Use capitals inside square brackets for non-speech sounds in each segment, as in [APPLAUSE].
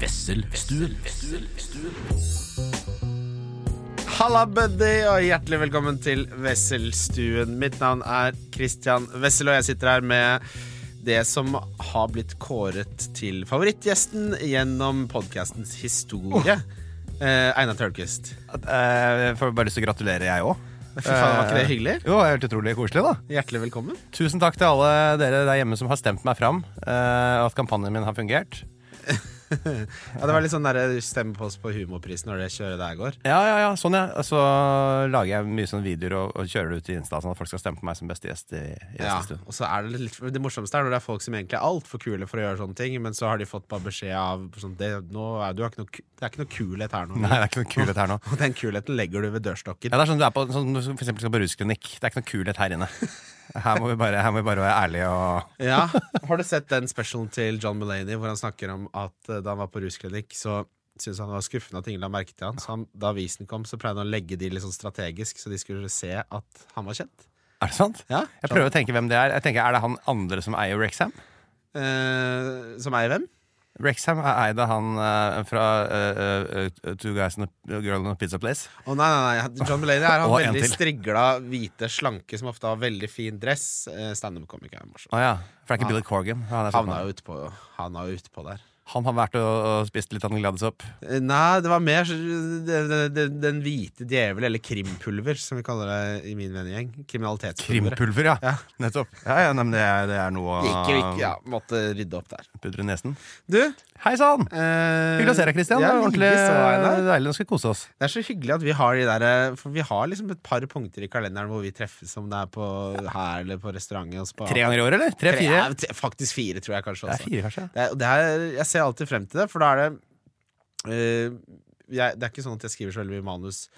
Wesselstuen. Halla, buddy, og hjertelig velkommen til Wesselstuen. Mitt navn er Christian Wessel, og jeg sitter her med det som har blitt kåret til favorittgjesten gjennom podkastens historie. Eh, Einar Tørnquist. Eh, Jeg får bare lyst til å gratulere, jeg òg. Fy faen, var ikke det hyggelig? Jo, det er helt utrolig koselig, da. Eh, Hjertelig velkommen. Tusen takk til alle dere der hjemme som har stemt meg fram, eh, og at kampanjen min har fungert. Ja, det var litt sånn der, Stem på oss på humorprisen når det kjøret der går. Ja, ja, ja, sånn, ja. Og Så lager jeg mye sånne videoer og, og kjører det ut i Insta, sånn at folk skal stemme på meg som beste gjest i, i Ja, stund. [LAUGHS] og så er Det litt, det morsomste er når det er folk som egentlig er altfor kule for å gjøre sånne ting, men så har de fått bare beskjed av sånn, det, nå er, du har ikke noe, ku- Det er ikke noe kulhet her nå. Nei, det er ikke noe kulhet her nå. [LAUGHS] Og den kulheten legger du ved dørstokken. Ja, det er sånn du er på, sånn, du for eksempel skal på rusklinikk. Det er ikke noe kulhet her inne. [LAUGHS] Her må vi bare, her må vi bare være ærlige og [LAUGHS] Ja, Har du sett den specialen til John Mulaney hvor han snakker om at eh, da han var på rusklinikk, så syntes han det var skuffende at ingen la merke til han. Så han, da avisen kom, så pleide han å legge de litt sånn strategisk, så de skulle se at han var kjent. Er det sant? Ja, Jeg prøver å tenke hvem det er. Jeg tenker, Er det han andre som eier Rexham? Eh, Som er i hvem? Rexham er eid av han eh, fra eh, eh, Two Guys and a Girl in a Pizza Place. Å nei, nei, nei, John Mulaney er han [LAUGHS] Og en veldig til. strigla, hvite, slanke, som ofte har veldig fin dress. Eh, Standup-komiker er morsom. Å ja, for det er ikke Billy Corgan. Han, er Ah. Havna sånn- jo utpå ut på der. han har vært og, og spist litt av den Gladisop. Eh, Nei, det var mer så- det- det- det- Den hvite djevel, eller krimpulver, som vi kaller det i min vennegjeng. Kriminalitetspulver. Krimpulver, ja. Nettopp. Ja, ja, nei, men det, er, det er noe å Ikke, ikke, ja, Ah. måtte rydde opp der. pudre nesen. Du, Hei sann! eh, Hyggelig å se deg, Christian. ja, det var ordentlig eh, hyggelig så, Einar. deilig. Nå skal vi kose oss. Det er så hyggelig at vi har de der eh, For vi har liksom et par punkter i kalenderen hvor vi treffes, om det er på her eller på restauranten. og så på- Tre ganger i året, eller? Tre- Tre-fire? ja, tre- faktisk fire, tror jeg kanskje. Det Også. er fire, kanskje. Det er, og det er, jeg ser alltid frem til det, for da er det eh, jeg, Det er ikke sånn at jeg skriver så veldig mye manus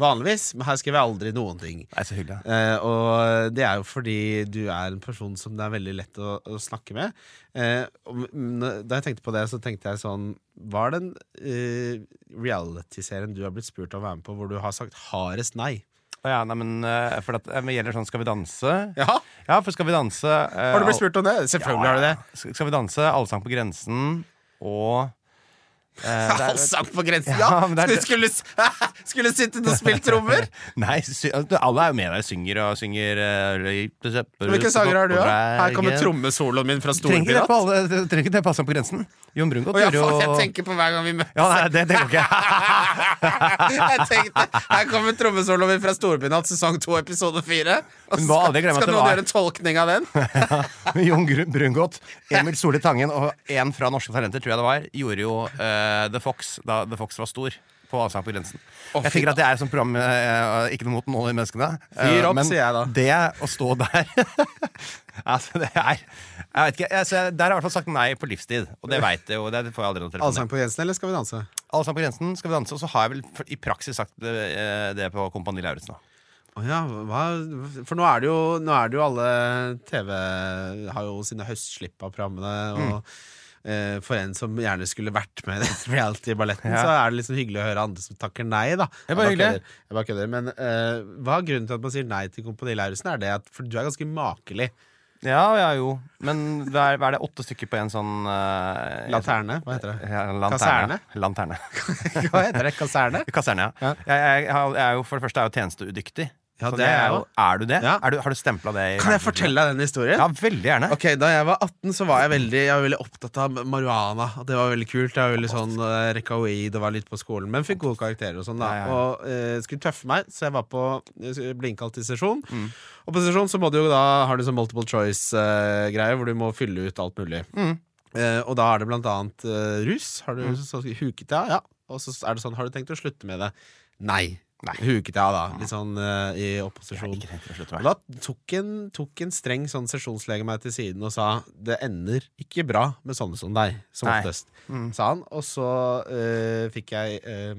vanligvis, men her skriver jeg aldri noen ting. Nei, så hyggelig. ja. Eh, og det er jo fordi du er en person som det er veldig lett å, å snakke med. Eh, og m- n- da jeg tenkte på det, så tenkte jeg sånn Var den uh, reality-serien du har blitt spurt om å være med på, hvor du har sagt hardest nei? Å ja, nei, men eh, for at, eh, men gjelder sånn Skal vi danse? Ja, Ja, for Skal vi danse eh, Har du blitt spurt om det? Selvfølgelig har du det. Skal skal vi danse, Allsang på grensen og [LAUGHS] eh, det er- Allsang på grensen, ja! Ja, men det er- Skulle- skulle, [LAUGHS] skulle sittet og spilt trommer! [LAUGHS] Nei, sy altså, alle er jo med der. Synger og synger uh, Hvilke sanger har du, da? Her kommer trommesoloen min fra Trenger ikke det Storpirat. på Å alle Trenger ikke det passe på grensen? Jon Brungot ja, gjør jo faen, jeg tenker på hver gang vi møtes. Ja, nei, det, det [LAUGHS] går ikke. jeg tenkte, Her kommer trommesoloen min fra Storpirat, sesong to, episode fire. Og Men må skal, aldri glemme at skal det noen var- gjøre en tolkning av den? Jon Gru- Brungot, Emil Solli Tangen og en fra Norske Talenter, tror jeg det var, gjorde jo eh, The Fox da The Fox var stor. På Allsang på grensen. Å, jeg fy tenker at det er et sånt program eh, Ikke noe mot noen av de menneskene. eh, Fyr opp, men sier jeg da. det å stå der [LAUGHS] Altså, det er Jeg vet ikke. Altså, der har jeg i hvert fall sagt nei på livstid. Og det veit jeg jo. Det får jeg aldri noe telefon til. Allsang på Jensen, eller skal vi danse? Allsang på grensen, Skal vi danse? Og så har jeg vel for- i praksis sagt det, eh, det på Kompani Lauritzen òg. Å ja, hva? For nå er det jo, nå er det jo alle TV har jo sine høstslipp av programmene. og Mm. eh, For en som gjerne skulle vært med i den [LAUGHS] reality-balletten, Ja. så er det liksom hyggelig å høre andre som takker nei. da er bare Jeg hyggelig. kødder. Jeg bare kødder. Men eh, hva er grunnen til at man sier nei til Kompani Lauritzen? Er det at for du er ganske makelig? Ja, ja, jo. Men hva er, hva er det åtte stykker på en sånn eh, Laterne? Hva heter det? Ja, lanterne. Kaserne? Lanterne. [LAUGHS] Hva heter det? Kaserne? Kaserne, ja. Ja. Jeg, jeg, jeg har- jeg er jo, for det første er jeg jo tjenesteudyktig. Ja, Så det Sånn er jeg jo- Er du det? Ja. Er du, har du stempla det? i Kan jeg verdensbildet? fortelle deg den historien? Ja, veldig gjerne. Ok, Da jeg var 18, så var jeg veldig, jeg var veldig opptatt av marihuana. og Det var veldig kult. Jeg var veldig sånn eh, Rekaoid og var litt på skolen, men fikk gode karakterer. Og sånn da Ja, ja, ja. Og eh, skulle tøffe meg, så jeg var på jeg ble innkalt til sesjon. Mm. Og på sesjon så må du jo da har du sånn multiple choice-greie hvor du må fylle ut alt mulig. Mm. Eh, og da er det blant annet eh, rus. Har du så, huket deg av? Ja. Og så er det sånn, har du tenkt å slutte med det? Nei. Huket deg av, da. Litt sånn eh, i opposisjon. Ikke tenkt å slutte Og med. da tok en, tok en streng sånn sesjonslege meg til siden og sa det ender ikke bra med sånne som deg, som Nei. Mm. oftest. Sa han. Og så eh, fikk jeg eh,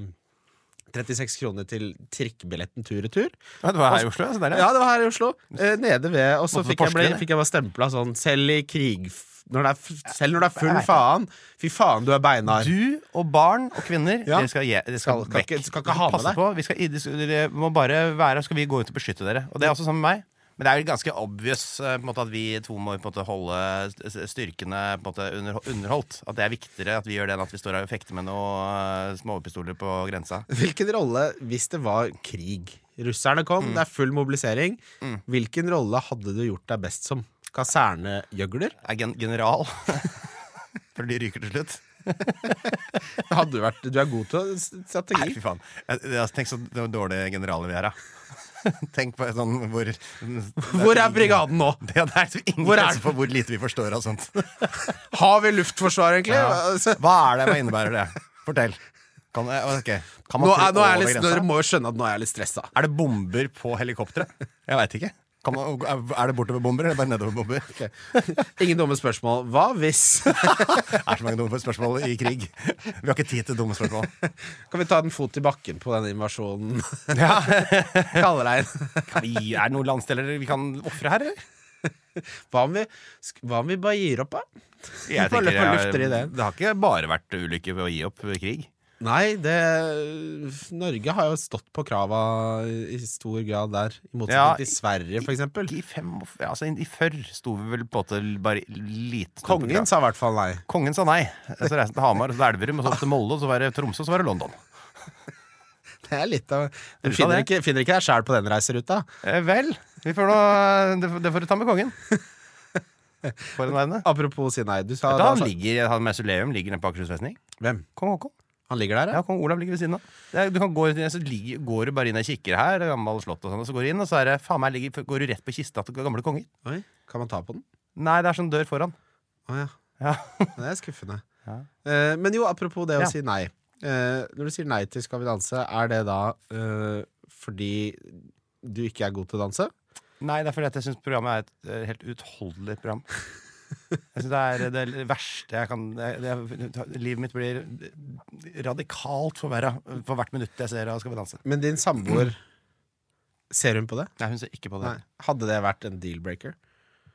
36 kroner til trikkebilletten tur-retur. Ja, det var her i Oslo, ja, så der, ja. Ja, det var her i Oslo. Eh, nede ved. Og så Måtte fikk jeg, bli, Porsgrunn, ja. fikk jeg bare stempla sånn, selv i krig... Når det er, f- selv når det er full faen. Fy faen, du er beinhard. Du og barn og kvinner, Ja. dere skal, ge- dere skal, Skal- kan vekk. ikke- skal ikke ha med Passe deg. På. Vi skal, i- dere skal- dere må bare være, skal vi gå ut og beskytte dere. Og det er også sammen med meg. Men det er jo ganske obvious eh, på en måte, at vi to må på en måte, holde s- s- styrkene på en måte, under, underholdt. At det er viktigere at vi gjør det enn at vi står her og fekter med noen småpistoler på grensa. Hvilken rolle, hvis det var krig Russerne kom, det er full mobilisering. Hvilken rolle hadde du gjort deg best som? Kasernegjøgler? Er gen general. [LAUGHS] For de ryker til slutt. Hadde du vært Du er god til s- Nei, strategi. fy faen. Jeg, jeg, tenk så dårlige generaler vi er, da. [LAUGHS] Tenk på sånn hvor Hvor er brigaden [LAUGHS] nå? Det det er så ingen Hvor er grense den? for hvor lite vi forstår av [LAUGHS] sånt. Har vi luftforsvar, egentlig? Ja. Altså, Hva er det, hva innebærer det? Fortell. Kan, jeg- ok. kan Nå, man fly er, nå er jeg over litt, grensa? dere må jo skjønne at nå er jeg litt stressa. Er det bomber på helikopteret? Jeg veit ikke. Kan man, er det bortoverbomber eller bare nedoverbomber? Ok. Ingen dumme spørsmål. Hva hvis [LAUGHS] Det er så mange dumme spørsmål i krig. Vi har ikke tid til dumme spørsmål. [LAUGHS] Kan vi ta en fot i bakken på den [LAUGHS] invasjonen? Ja. [LAUGHS] Kallerein. Kan vi, er det noen landsdeler vi kan ofre her, eller? Hva om vi, sk- hva om vi bare gir opp, da? Jeg Bare- tenker bare det er- lufter ideen. Det har ikke bare vært ulykker ved å gi opp krig. Nei, det Norge har jo stått på krava i stor grad der. I motsetning Ja, til Sverige, for eksempel. Ikke I, fem, og- ja, altså, I førr sto vi vel på en måte bare lite Kongen sa i hvert fall nei. Kongen sa nei. Så reiste han til Hamar, og så til Elverum, og så opp til Molde, og så var det Tromsø, og så var det London. Det er litt av Du Du sa finner det. ikke, finner ikke deg sjæl på den reiseruta. Eh, vel, vi får nå, det, det får du ta med [LAUGHS] kongen. For en verden. Apropos si nei. Du sa Da da- altså- ligger han mausoleum ligger nede på Akershus festning. Hvem? Kong Haakon. Han ligger der, ja? Ja, kong Olav ligger ved siden av. Det er, du kan gå, inn- så ligger, går du bare inn og kikker her, det er gammel slott og sånn, og så går du inn, og så er det, faen meg, ligger, går du rett på kista til gamle konger. Oi, kan man ta på den? Nei, det er sånn dør foran. Å ja. Ja. [LAUGHS] Det er skuffende. Ja. Eh, men jo, apropos det å Ja. si nei. Eh, når du sier nei til Skal vi danse, er det da eh, fordi du ikke er god til å danse? Nei, det er fordi at jeg syns programmet er et eh, helt utholdelig program. Jeg synes det er det verste jeg kan det, det, Livet mitt blir radikalt forverra for hvert minutt jeg ser av Skal vi danse. Men din samboer, [CLEARS THROAT] ser hun på det? Nei, hun ser ikke på det. Nei. Hadde det vært en deal-breaker?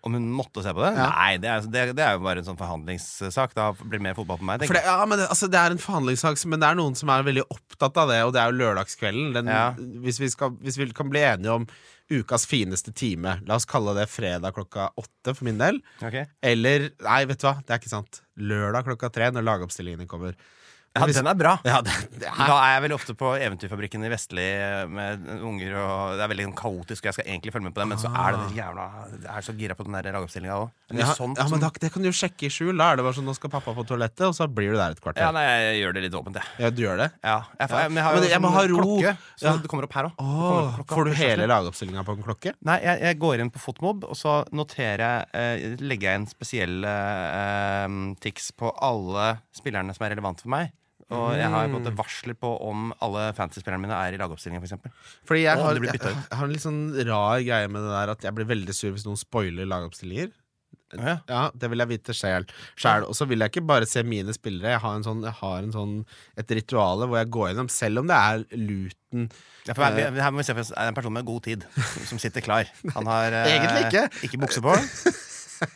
Om hun måtte se på det? Ja. Nei, det er, det, det er jo bare en sånn forhandlingssak. Da blir det mer fotball på meg. For tenker det, ja, men det, altså, det er en forhandlingssak, men det er noen som er veldig opptatt av det, og det er jo lørdagskvelden. Den, Ja. hvis, vi skal, hvis vi kan bli enige om ukas fineste time, la oss kalle det fredag klokka åtte for min del, jeg. Ok. eller Nei, vet du hva, det er ikke sant. Lørdag klokka tre, når lagoppstillingene kommer. Ja, Hvis- den er bra. Ja, det, det er Da er jeg veldig ofte på Eventyrfabrikken i Vestli eh, med unger. og Det er veldig sånn kaotisk, og jeg skal egentlig følge med på det, men så er det det jævla Jeg er så gira på den der lagoppstillinga òg. Ah. ja, ja, men da, Det kan du jo sjekke i skjul. Da er det bare sånn nå skal pappa på toalettet, og så blir du der et kvarter. ja, Ja, nei, jeg gjør det litt åpent, jeg. du gjør det? Ja, jeg, får- Ja. Men jeg har jo Men jeg må sånn ha ro. klokke, så Ja. det kommer opp her òg. Åh, får du hele lagoppstillinga på en klokke? Nei, jeg, jeg går inn på Fotmob, og så noterer jeg eh, Legger jeg inn spesielle eh, tics på alle spillerne som er relevante for meg. Og jeg har på en Mm. måte varsler på om alle fantasy-spillerne mine er i lagoppstillinga, f.eks. Fordi jeg Åh, har, det blir jeg, byttet ut. har en litt sånn rar greie med det der at jeg blir veldig sur hvis noen spoiler lagoppstillinger. Ja. Ja, Det vil jeg vite sjæl. Sjæl. Og så vil jeg ikke bare se mine spillere. Jeg har, en sånn, jeg har en sånn, et rituale hvor jeg går gjennom, selv om det er Luton Ja, for her, Eh. vi- her må vi se for oss er det en person med god tid, som [LAUGHS] sitter klar. Han har eh, Egentlig ikke. ikke bukse på.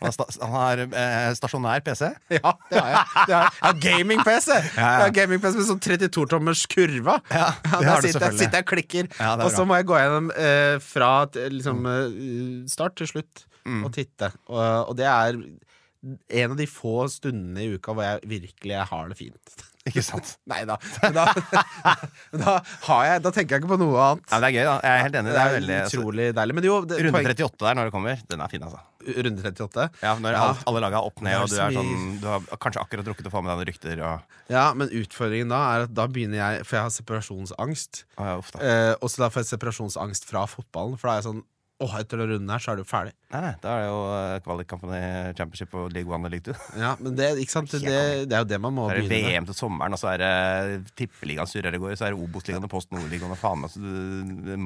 Han har, sta han har eh, stasjonær PC. Ja, det har jeg. Det har jeg. jeg har gaming-PC! ja. Jeg har gaming-PC Med sånn 32-tommers kurva. Ja, det der har sitter, du jeg- selvfølgelig. sitter jeg og klikker. Ja, det er og så bra. må jeg gå gjennom eh, fra t- liksom, eh, start til slutt Mm. og titte. Og, og det er en av de få stundene i uka hvor jeg virkelig har det fint. [LAUGHS] Ikke sant? Nei da. Men Da, [LAUGHS] da, har jeg, da tenker jeg ikke på noe annet. Ja, men det er gøy, da. Jeg er helt enig. Det Det er er veldig altså, utrolig deilig. Men jo, det, Runde poeng- 38 der når det kommer. Den er fin, altså. runde 38. Ja, når Ja. alt- alle laga er opp ned, Det er og du så er mye- sånn Du har kanskje akkurat drukket å få med deg noen rykter og Ja, men utfordringen da er at da begynner jeg For jeg har separasjonsangst. Å, ja, uff da. Eh, og så da får jeg separasjonsangst fra fotballen, for da er jeg sånn Åh, etter den runden her, så er du ferdig. Nei, nei, da er det jo eh, kvalikkampen i Championship og League One og League Two. Ja, men det, ikke sant? Det, det er jo det man må Da er det begynne med. VM til sommeren, og så er det tippeligaen surrer i går, så er det Obos-ligaen og Post Nord-ligaen og faen meg så eh, du-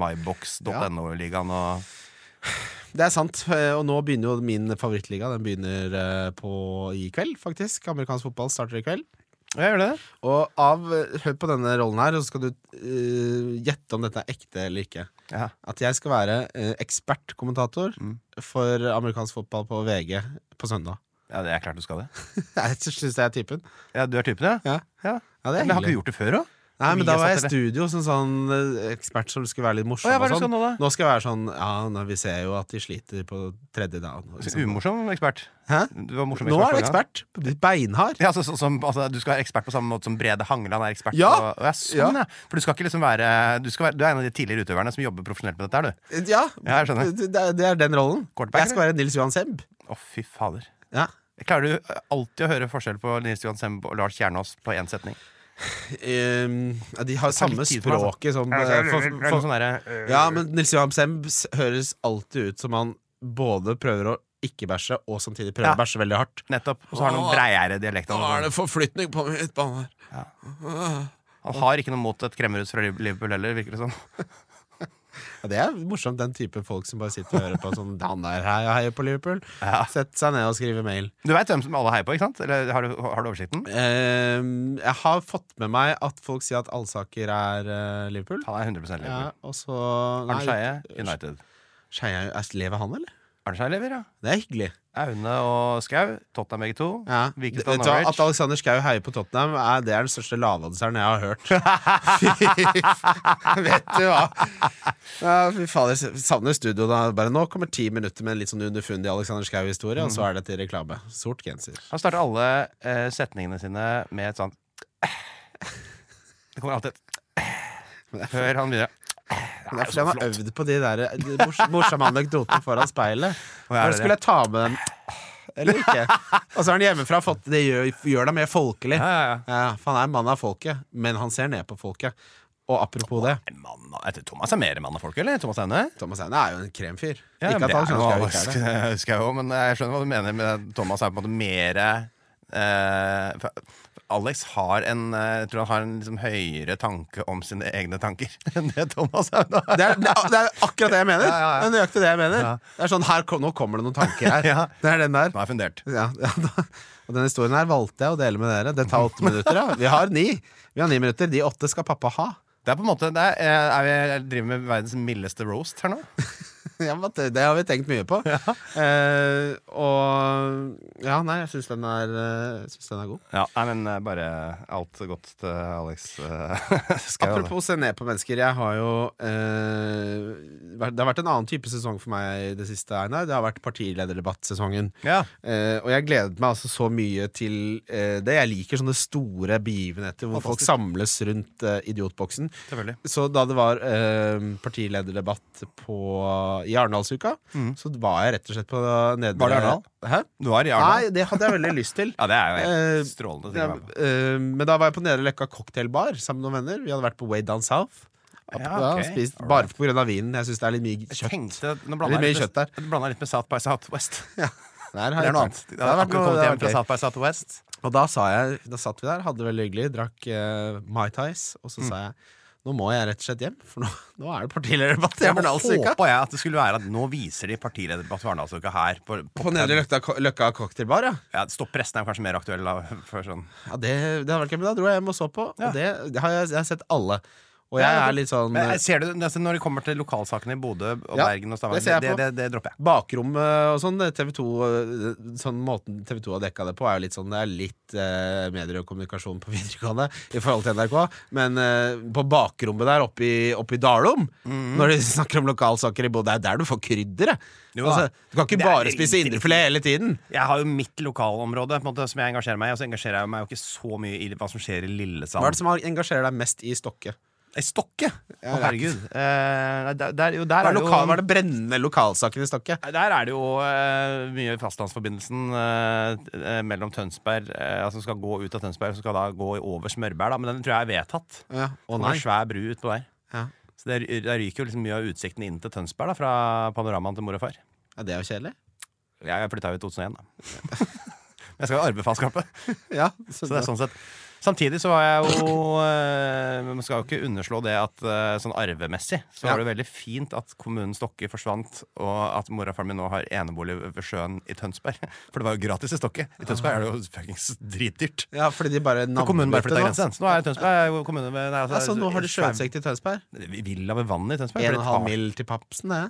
mybox.no-ligaen og Det er sant. eh, Og nå begynner jo min favorittliga. Den begynner eh, på i kveld, faktisk. Amerikansk fotball starter i kveld. Ja, gjør det? Og av eh, Hør på denne rollen her, så skal du eh, gjette om dette er ekte eller ikke. Ja. At jeg skal være eh, ekspertkommentator Mm. for amerikansk fotball på VG på søndag. [LAUGHS] Ja, det er klart du skal det. Jeg syns det er typen. Ja, Du er typen, ja? Ja, ja. ja det er Men har hyggelig. ikke du gjort det før òg? Nei, men da Tobias var jeg i Atelle. studio som sånn eh, ekspert som skulle være litt morsom. Å ja, hva er og det du skal sånn. nå, da? Nå skal jeg være sånn Ja, nei, vi ser jo at de sliter på tredje dagen. og Så liksom. Umorsom ekspert. Hæ? Du var morsom Nå er du forrige gang. ekspert. Beinhard. Ja, altså, så, som, altså, du skal være ekspert på samme måte som Brede Hangeland er ekspert. Ja. På, Å, ja, sånn, Ja. ja. For du skal ikke liksom være du, skal være du er en av de tidligere utøverne som jobber profesjonelt med dette her, du. Ja, Ja, jeg skjønner. Det, er- det er den rollen. Quarterback, Jeg skal være Nils Johan Sebb. Å, fy fader. Ja. Klarer du alltid å høre forskjell på Nils Johan Semb og Lars Kjernås på én setning? Ehm, ja, de har samme litt tid for meg, altså. språket som Er eh, det for, noe for, sånn derre, Ja, men Nils Johan Semb s- høres alltid ut som han både prøver å ikke bæsje, og samtidig prøver Ja. å bæsje veldig hardt. Nettopp. Og så har han noen breiere sånn. dialekter. det forflytning på midtbanen her. Han har ikke noe mot et kremmerhus fra Liverpool heller, virker det som. Ja, det er morsomt, den type folk som bare sitter og hører på sånn Han der hei, heier på Liverpool. Ja. Sett seg ned og skrive mail. Du veit hvem som alle heier på, ikke sant? Eller har du, har du oversikten? Ehm, jeg har fått med meg at folk sier at Alsaker er eh, Liverpool. Han er 100 Liverpool. Ja, og så Arne nei, Skeie, United. Skeie er- Lever han, eller? Arne Skeie lever, ja. Det er hyggelig. Aune og Skau. Tottenham begge to. Ja. Det, Vikestad vet du, hva, at Norwich. Alexander Schou heier på Tottenham, er, det er den største lavanseren jeg har [LAUGHS] hørt. Fy- vet du hva? Ja, fy fader, jeg savner studio da. Bare nå kommer ti minutter med en litt sånn underfundig Alexander Schou-historie, og så er det til reklame. Sort genser. Han starter alle eh, setningene sine med et sånt [LAUGHS] Det kommer alltid [LAUGHS] et Før han begynner. Men det er fordi han har øvd på de der eh, de mors- morsomme anekdotene foran speilet. Å, ja, Eller det er skulle jeg ta med den eller [LAUGHS] ikke? Og så har han hjemmefra fått Det gjør, gjør deg mer folkelig. Ja, ja, ja. Ja, for han er en mann av folket, men han ser ned på folket. Og apropos det, En mann av- etter Thomas er mer mann av folk, eller? Thomas Aune? Thomas Aune er jo en kremfyr. Ja, ikke men at det han er jo skjønner Alex skal det. Skau også, men jeg skjønner hva du mener med at Thomas er på en måte mer eh, for- for Alex har en eh, Jeg tror han har en liksom høyere tanke om sine egne tanker [LAUGHS] enn det Thomas er. Da. Det er, det er- det er akkurat det jeg mener. Ja, ja, ja. Det er nøyaktig det jeg mener. Ja. Det er sånn, her, kom- Nå kommer det noen tanker her. [LAUGHS] Ja. Det er den der. Nå er jeg fundert. Ja, ja, da. Og den historien her valgte jeg å dele med dere. Det tar åtte minutter. Ja. Vi har ni. Vi har ni minutter. De åtte skal pappa ha. Det er på en måte det er, eh, er vi, jeg driver med verdens mildeste roast her nå. [LAUGHS] Ja, men det, det har vi tenkt [LAUGHS] mye på. Eh, og ja, nei, jeg syns den, er, eh, jeg synes den er god. Ja, nei, men eh, bare alt godt til Alex eh, [LAUGHS] Skau. da. Apropos se ned på mennesker. Jeg har jo eh, vært- Det har vært en annen type sesong for meg i det siste, Einar. Det har vært partilederdebattsesongen. Ja. Eh, og jeg gledet meg altså så mye til eh, det. Jeg liker sånne store begivenheter hvor folk samles rundt eh, idiotboksen. Selvfølgelig. Så da det var eh, partilederdebatt på, i Arendalsuka, så var jeg rett og slett på eh, nedre Mm. Var det Arendal? Hæ? Du har Jarle. Nei, det hadde jeg veldig lyst til. [LAUGHS] Ja, det er jo Eh, helt strålende. ting å være med på. Ja, eh, men da var jeg på Nedre Løkka cocktailbar sammen med noen venner. Vi hadde vært på Way Down South. Ja, Ja, ok. spist Alright. Bare på grunn av vinen. Jeg syns det er litt mye Jeg kjøtt. tenkte, nå Det blanda er litt jeg mye litt, kjøtt med- blanda jeg litt med South by Southwest. Der har Det jeg er noe vært. annet. Det Jeg har har vært noe- det akkurat kommet har hjem fra vært gøy. South by Southwest. Og da sa jeg Da satt vi der, hadde det veldig hyggelig, drakk eh, Mai Tais, og så Mm. sa jeg nå må jeg rett og slett hjem, for nå, nå er det partilederdebatt [LAUGHS] i Jeg Arendalsuka. håpa jeg at det skulle være at nå viser de partilederdebatt for Arendalsuka her. På, på, På Nedre Løkka, Løkka cocktailbar, ja. ja, Stopp resten er kanskje mer aktuell da, [LAUGHS] for sånn ja det, det hadde vært gøy, men da dro jeg hjem og så på, Ja. og det, det har jeg, jeg har sett alle. Og jeg Ja, er litt sånn Men jeg ser du, nesten Når det kommer til lokalsakene i Bodø og Ja, Bergen og det ser jeg Stavanger, det, på. det, det dropper jeg. Bakrommet og sånn, TV 2 Sånn måten TV 2 har dekka det på, er jo litt sånn Det er litt eh, medier og kommunikasjon på [LAUGHS] videregående i forhold til NRK, men eh, på bakrommet der oppe i, oppe i Dalom, Mhm. når de snakker om lokalsaker i Bodø, det er der du får krydderet! Jo da. Altså, du kan ikke Det er bare litt spise riktig. indrefilet hele tiden! Jeg har jo mitt lokalområde på en måte, som jeg engasjerer meg i. Og så engasjerer jeg meg jo ikke så mye i hva som skjer i Hva er det Lillesand. som engasjerer deg mest i Stokke? I Stokke! Å, Ja, det er herregud. Eh, nei, der, der, jo, der Hva er, er det jo lokal, hva er det brennende lokalsaken i Stokke? Nei, Der er det jo eh, mye fastlandsforbindelsen eh, eh, mellom Tønsberg eh, Altså skal gå ut av Tønsberg, så skal da gå over Smørberg, da. Men den tror jeg er vedtatt. Ja. Å Det nei. er en svær bru utpå der. Ja. Så det, ry- der ryker jo liksom mye av utsikten inn til Tønsberg da, fra panoramaen til mor og far. ja, det er jo kjedelig. Jeg flytta jo i 2001, da. [LAUGHS] Men jeg skal jo arve faenskapet. Ja, Så det er sånn sett. Samtidig så var jeg jo eh, Man skal jo ikke underslå det at eh, sånn arvemessig så Ja. var det veldig fint at kommunen Stokke forsvant, og at mora og faren min nå har enebolig ved sjøen i Tønsberg. [LAUGHS] For det var jo gratis i Stokke. I Tønsberg er det jo fuckings dritdyrt. sånn- ja, fordi de bare Så kommunen bare navnbytter flytta nå. grensen. Så nå er jo Tønsberg er jo kommune ved nei, altså, Ja, så nå har de svær- sjøutsikt til Tønsberg? Villa ved vannet i Tønsberg. 1,5 mil. mil til papsen, det.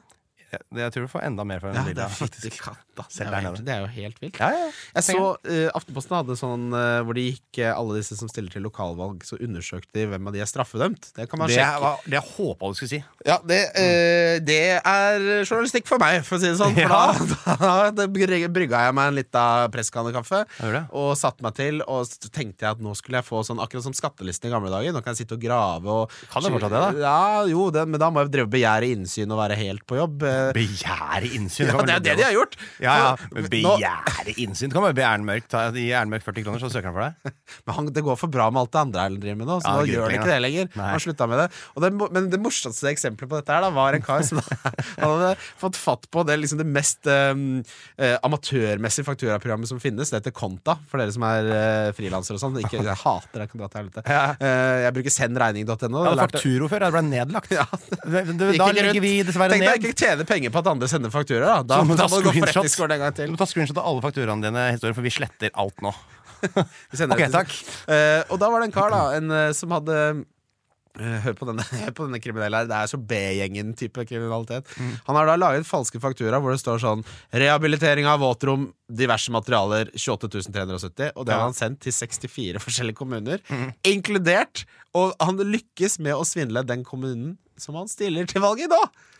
Jeg, jeg tror du får enda mer for den Ja, det lilla, er faktisk. fytti katta. Det er Selv der jo helt- nede. det er jo helt vilt. Ja, ja. Jeg så Penger. eh, Aftenposten hadde sånn eh, hvor de gikk eh, alle disse som stiller til lokalvalg, så undersøkte de hvem av de er straffedømt. Det kan man Det sjekke. var- det jeg håpa du skulle [LAUGHS] si. Ja, det, eh, det er journalistikk for meg, for å si det [LAUGHS] sånn. For Ja. da, da bry- brygga jeg meg en lita presskannekaffe Gjorde det. og satte meg til. Og s- tenkte jeg at nå skulle jeg få sånn akkurat som skattelisten i gamle dager. Nå kan jeg sitte og grave og Kan du fortsatt det, da? Ja, jo, det, men da må jeg drive og begjære innsyn og være helt på jobb. eh. Begjære innsyn. Ja, det er det de har gjort! Ja, ja. For- Men nå- Begjære innsyn. Du kan bare be Erlend Mørk ta gi Erlend Mørk 40 kroner, så søker han for deg. Men han, det går for bra med alt det andre Erlend driver med nå, så Ja, nå det gidder gjør han ikke ikke det lenger. Nei. Han slutta med det. Og det. mo- Men det morsomste eksempelet på dette her da, var en kar som [LAUGHS] han hadde fått fatt på det, liksom det mest ehm, eh, amatørmessige fakturaprogrammet som finnes. Det heter Konta, for dere som er eh, frilansere og sånn. Ikke- [LAUGHS] Jeg hater det. Kan dra til helvete. Ja. Eh, jeg bruker sendregning.no. Jeg hadde Lærte- fakturo før. Det ble nedlagt. Ja. Det- det- Gikk Da ikke rundt. legger vi dessverre Tenk deg ned. ikke tjene penger på at andre sender fakturaer, da. Da, Så må da du ta må du gå screenshot. forretningsgården en gang Du til. må ta screenshot av alle fakturaene dine, historien, for vi sletter alt nå. Vi sender Ok, det til- takk. Eh, og da var det en kar da en, eh, som hadde eh, Hør på denne, [LAUGHS] hør på denne kriminelle her. Det er så B-gjengen-type kriminalitet. Han har da laget falske fakturaer hvor det står sånn 'Rehabilitering av våtrom, diverse materialer, 28370'. Og det Ja. har han sendt til 64 forskjellige kommuner, inkludert Og han lykkes med å svindle den kommunen som han stiller til valget i nå!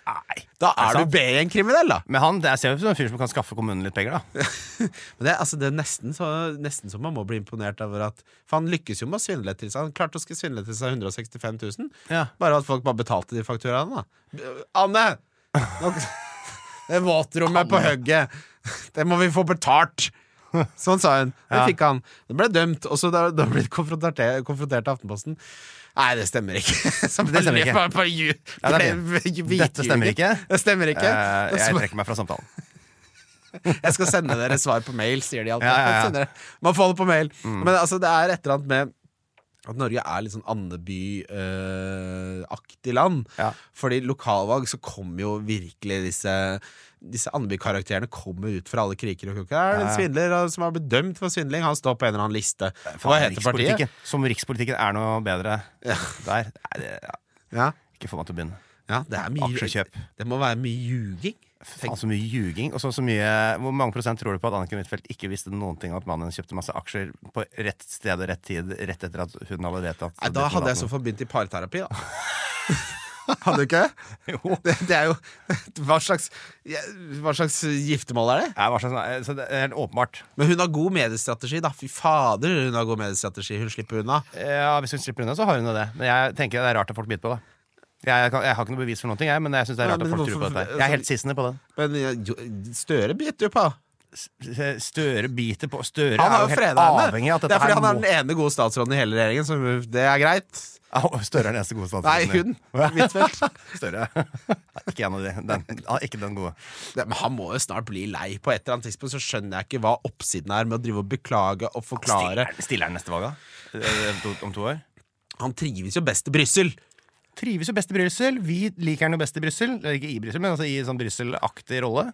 Nei. Da Er det er du sant? B-gjeng-kriminell, da! Men han det ser jo ut som en fyr som kan skaffe kommunen litt penger, da. [LAUGHS] Men det, er- altså, det er nesten så, nesten så man må bli imponert over at For han lykkes jo med å svindle til seg. Han klarte å svindle til seg 165 000. Ja. Bare at folk bare betalte de fakturaene, da. Eh, Anne! Nå, [LAUGHS] det våtrommet er på hugget. [LAUGHS] Det må vi få betalt! Sånn sa hun. Det Ja. fikk han. Det ble dømt, og så da, da ble det konfrontert, konfrontert til Aftenposten. Nei, det stemmer ikke. [LAUGHS] Som Det stemmer ikke. Bare, bare, ju- Ja, [LAUGHS] det er ble- hvitjuget. Dette stemmer ikke. Det stemmer ikke. Og Eh, så- jeg trekker meg fra samtalen. jeg skal sende dere svar på mail, sier de alltid. Ja, Mm. ja, ja. Sender dere- Man får det på mail. Men altså, det er et eller annet med at Norge er litt sånn Andeby-aktig land. Ja. Fordi lokalvalg så kommer jo virkelig disse Disse Andeby-karakterene kommer ut fra alle kriker og kroker. Er det en Ja, ja. svindler og- som har blitt dømt for svindling? Han står på en eller annen liste. [LAUGHS] Hva heter partiet? Rikspolitikken. Som rikspolitikken er noe bedre der. Nei, det, ja. Ja, Ikke få meg til å begynne. ja, det er mye Aksjekjøp. Det må være mye ljuging. Faen, så Altså mye ljuging. Og så så mye Hvor mange prosent tror du på at Anniken Huitfeldt ikke visste noen ting om at mannen kjøpte masse aksjer på rett sted og rett tid, rett etter at hun hadde vedtatt Nei, da hadde jeg i så fall begynt i parterapi, da. [LAUGHS] hadde du ikke? Jo. Det, det er jo [LAUGHS] hva slags, ja, hva slags giftermål er det? Nei, hva slags- eh, Så det er helt åpenbart. Men hun har god mediestrategi, da. Fy fader, hun har god mediestrategi. Hun slipper unna. Ja, Hvis hun slipper unna, så har hun jo det. Men jeg tenker det er rart at folk biter på det. Jeg, kan, jeg har ikke noe bevis for noen ting, jeg, men altså- jeg syns det er Nei, rart at men folk tror på hvorfor- dette. Jeg er helt sissende på den. Men ja, jo, Støre biter jo på. S- Støre biter på Støre Han har er jo jo helt freda avhengig henne. av at Det dette er fordi her han er må den ene gode statsråden i hele regjeringen, så det er greit. [LAUGHS] Au, Støre er den eneste gode Nei, statsråden. hun. Huitfeldt. [LAUGHS] Støre. Nei, Ikke en av de. Den, ah, ikke den gode. Ja, Men han må jo snart bli lei. På et eller annet tidspunkt så skjønner jeg ikke hva oppsiden er med å drive og beklage og forklare. Stiller- Stiller han neste valg, da? Eh, to- Om to år? Han trives jo best i Brussel. Trives jo best i Brussel. Vi liker han jo best i Brussel. Eller Ikke i Brussel, men altså i sånn Brussel-aktig rolle.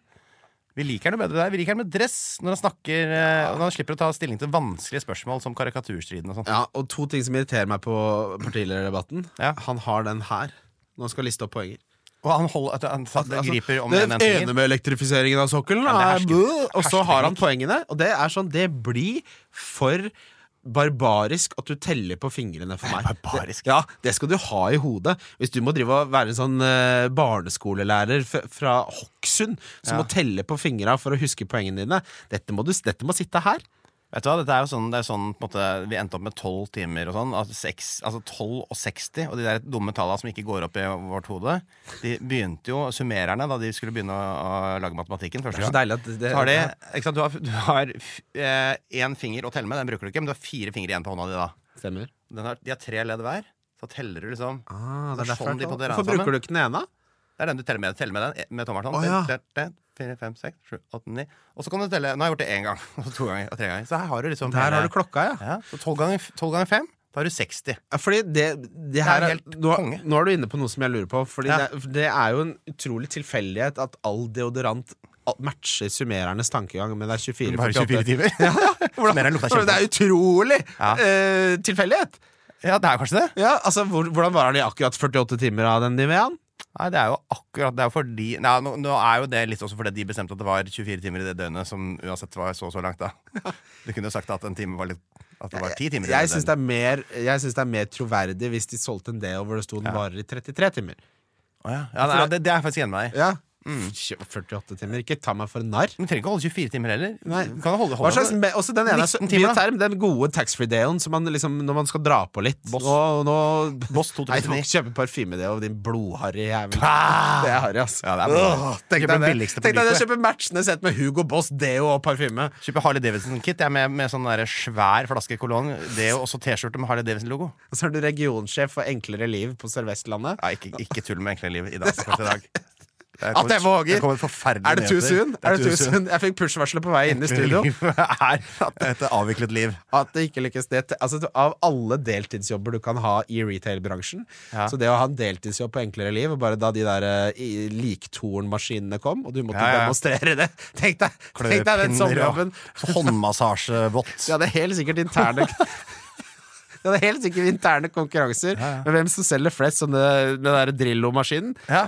Vi liker han jo bedre der. Vi liker han med dress når han snakker eh, Og når han slipper å ta stilling til vanskelige spørsmål som karikaturstriden og sånn. Ja, og to ting som irriterer meg på partilederdebatten. Ja. Han har den her. Nå skal jeg liste opp poenger. Og han holder at han, at han Altså, griper om det den ene ene tingen. med elektrifiseringen av sokkelen, Ja, er, det er herske- og så har han hersketeknikk. poengene. Og det er sånn, det blir for barbarisk at du teller på fingrene for meg. Barbarisk. Det, ja, det skal du ha i hodet. Hvis du må drive og være en sånn eh, barneskolelærer f fra Hokksund som Ja. må telle på fingra for å huske poengene dine, dette må, du, dette må sitte her. Vet du hva, dette er jo sånn, det er sånn på en måte, Vi endte opp med tolv timer og sånn. Altså, seks, altså 12 og 60, og de der dumme tallene som ikke går opp i vårt hode. De begynte jo, Summererne, da de skulle begynne å, å lage matematikken Det er første så gang deilig at det, så har de, ikke sant, Du har, du har f- eh, én finger å telle med, den bruker du ikke, men du har fire fingre igjen på hånda di da. stemmer. Den har, de har tre ledd hver. Så teller du liksom Ah, det er Det er derfor sånn jeg de tar- på dere er Hvorfor sammen. bruker du ikke den ene? Det er den du teller med. Teller med den eh, med tommelen. Å, ja. Den- den- den- Fire, fem, seks, sju, åtte, ni. Og så kan du telle. Nå har jeg gjort det én gang, [LAUGHS] og så to ganger, og tre ganger. Så her har du liksom Der hele- har du klokka, ja. Ja, så 12 ganger, 12 ganger 5, da har du 60. Ja, Fordi det, det her er, helt nå, konge. nå er du inne på noe som jeg lurer på. Fordi Ja. det, det er jo en utrolig tilfeldighet at all deodorant al- matcher summerernes tankegang, men det er 24 48. [LAUGHS] timer? ja, [LAUGHS] Hvordan- Summerer lukta hvordan- Det er utrolig Ja. eh, tilfeldighet! ja, det er kanskje det. Ja, altså, hvor, hvordan varer de akkurat 48 timer av den Niveaen? Nei, det er jo akkurat Det er jo fordi Nei, nå, nå er jo det litt også fordi de bestemte at det var 24 timer i det døgnet, som uansett var så og så langt, [LAUGHS] da. Du kunne jo sagt at en time var litt At det var ti timer i Jeg syns det det, er mer- jeg syns det er mer troverdig hvis de solgte en del hvor det sto den varer i 33 timer. Å ja. Ja, nei, det, det er jeg faktisk enig med deg i. Ja. 48 timer. Ikke ta meg for en narr. Men Du trenger ikke holde 24 timer heller. Nei. Du kan holde, Hva holde slags, me- også den ene er så- 19 timer, da. bioterm, den gode taxfree-delen som man liksom, når man skal dra på litt. Boss. Nå, nå Boss Nei, du må 2009. ikke kjøpe parfyme det og din blodharry jævel. Ah! Det er harry, ass. Ja, det er blodharry. Åh, Tenk Kjøp deg den det. billigste på Tenk deg det, Lyko. kjøpe matchende sett med Hugo Boss, deo og parfyme. Kjøper Harley Davidson-kit jeg, med, med sånn der svær flaske kolon. Det er jo også T-skjorte med Harley Davidson-logo. Og så er du regionsjef for Enklere liv på Sørvestlandet. Nei, ikke, ikke tull med enkle liv i dag. akkurat i dag. Det [LAUGHS] At jeg våger! det kommer forferdelige Er det too nyheter. soon? er Er det too too soon. soon? Jeg fikk push-varselet på vei inn i [LAUGHS] studio. Livet er et avviklet liv. At det ikke lykkes det altså, Av alle deltidsjobber du kan ha i retail-bransjen Ja. Så det å ha en deltidsjobb på enklere liv og Bare da de der eh, i- liktornmaskinene kom Og du måtte Ja, ja. demonstrere det [LAUGHS] Tenk deg, tenk deg den Kløpinner og sommerjobben håndmassasjevott. [LAUGHS] De hadde helt sikkert interne [LAUGHS] [LAUGHS] De hadde helt sikkert interne konkurranser Ja, ja. Med hvem som selger flest sånne, Den der Drillo-maskinen Ja.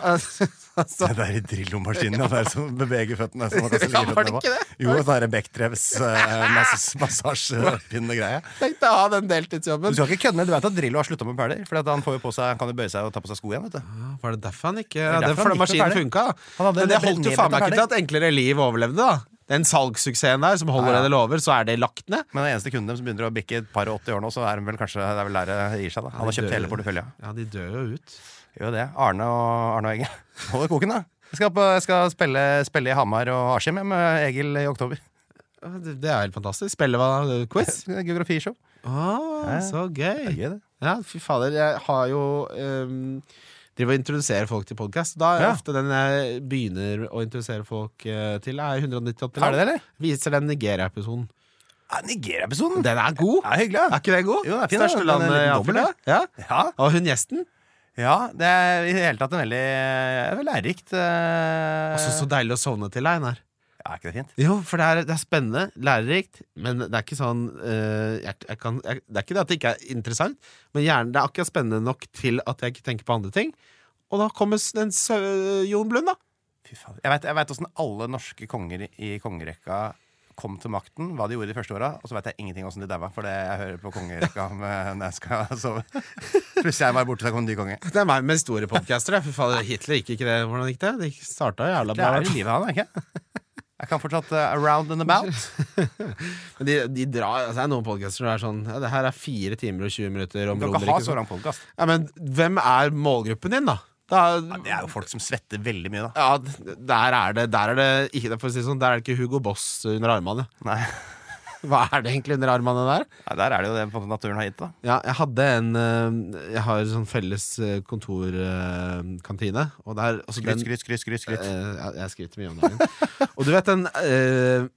[LAUGHS] altså, Det der i Drillo-maskinen, det der som beveger føttene. Som man kan Ja, var det føttene på. ikke det? Jo, sånn derre Bechdrevs eh, mass- massasjepinnegreie. Tenk deg å ha den Du deltidsjobben skal ikke kødde med Du vet at Drillo har slutta med perler? For han, får jo på seg, han kan jo bøye seg og ta på seg sko igjen. vet du Ja, Var det derfor han ikke ja, det derfor er fordi han gikk maskinen med ferdig. funka, da. Han hadde Men det en holdt jo nedbetatt faen meg ikke ferdig. til at Enklere liv overlevde, da. Den salgssuksessen der som holder Ja, ja. det det lover, så er det lagt ned. Men den eneste kunden dem som begynner å bikke et par og 80 år nå, så er de vel kanskje det er vel der det gir seg. da Han har kjøpt hele porteføljen. Ja, de dør jo ut. Gjør jo det. Arne og Arne og Egil. Holder koken, da. Jeg skal, på, jeg skal spille, spille i Hamar og Askim jeg, med Egil i oktober. Ja, Det det er helt fantastisk. Spille hva? da? Quiz? [LAUGHS] Geografishow. Ah, Ja. så Det er gøy. gøy, det. Ja, fy fader. Jeg har jo ehm, driver og introduserer folk til podkast. Da er Ja. ofte den jeg begynner å introdusere folk eh, til, er 198 Er det det, eller? Viser den Nigeria-episoden. Ja, Nigeria-episoden! Den er god! Det er hyggelig, Er da. ikke den god? Jo, den er fin, Største den. Den er landet i litt dobbel, Afrika. Ja. Ja, Og hun gjesten. ja, det er i det hele tatt en veldig, eh, veldig lærerikt eh, Også så deilig å sovne til, Einar. Ja, er ikke det fint? Jo, for det er, det er spennende, lærerikt, men det er ikke sånn eh, jeg, jeg kan, jeg, Det er ikke det at det ikke er interessant, men hjernen, det er akkurat spennende nok til at jeg ikke tenker på andre ting. Og da kommer s- den sø- Jon Blund, da. Fy faen. Jeg vet- Jeg veit åssen alle norske konger i kongerekka kom til makten, hva de gjorde de første åra, og så veit jeg ingenting åssen de daua, for det jeg hører på kongerekka med, når jeg skal [LAUGHS] sove. Plutselig er jeg bare borte, så kom en ny konge. Det er meg med historiepodcaster. jeg. Fy fader, Hitler gikk ikke det. Hvordan gikk det? Det starta jævla Det bra. er i livet han, er ikke? Jeg kan fortsatt eh, around and about. Men de, de drar, altså, det er noen podcaster som er sånn ja, Det her er fire timer og 20 minutter om Du kan romerriket. ikke ha så lang podkast. Ja, men hvem er målgruppen din, da? da Det er jo folk som svetter veldig mye, da. Ja, d- der er det Der er det ikke, for å si det sånn, der er det ikke Hugo Boss under armene. Nei, Hva er det egentlig under armene der? Nei, Der er det jo det på en måte naturen har gitt, da. Ja, jeg hadde en eh, Jeg har sånn felles kontorkantine, og der altså Skryt, den, skryt, skryt, skryt. skryt. Eh, ja, jeg skryter mye om dagen. [LAUGHS] og du vet den eh,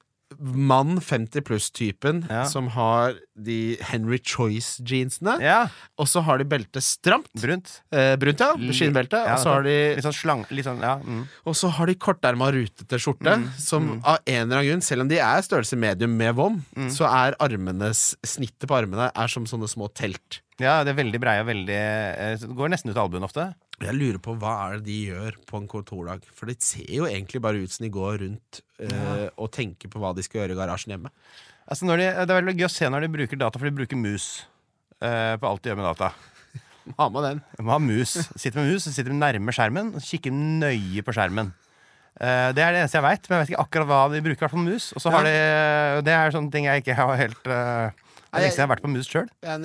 mann 50 pluss-typen Ja. som har de Henry Choice-jeansene, Ja, og så har de beltet stramt. brunt. Eh, brunt, ja. Skinnbelte. Ja, og så har de Litt sånn slang... Litt sånn, ja. Mm. Og så har de korterma rutete skjorte, som av en eller annen grunn, selv om de er størrelse medium med vom, så er armenes snittet på armene er som sånne små telt. ja, det er veldig breie og veldig eh, så Det går nesten ut av albuen ofte. Jeg lurer på hva er det de gjør på en kontordag, for det ser jo egentlig bare ut som de går rundt eh, og tenker på hva de skal gjøre i garasjen hjemme. Altså når de, det er veldig gøy å se når de bruker data, for de bruker mus eh, på alt de gjør med data. Ha med den. De har mus. Sitter med mus, sitter nærme skjermen, og kikker nøye på skjermen. Eh, det er det eneste jeg veit, men jeg vet ikke akkurat hva de bruker i hvert fall mus. Og så har de, det er sånne ting jeg ikke har helt eh, Det er Nei, lenge siden jeg har vært på mus sjøl. Ja,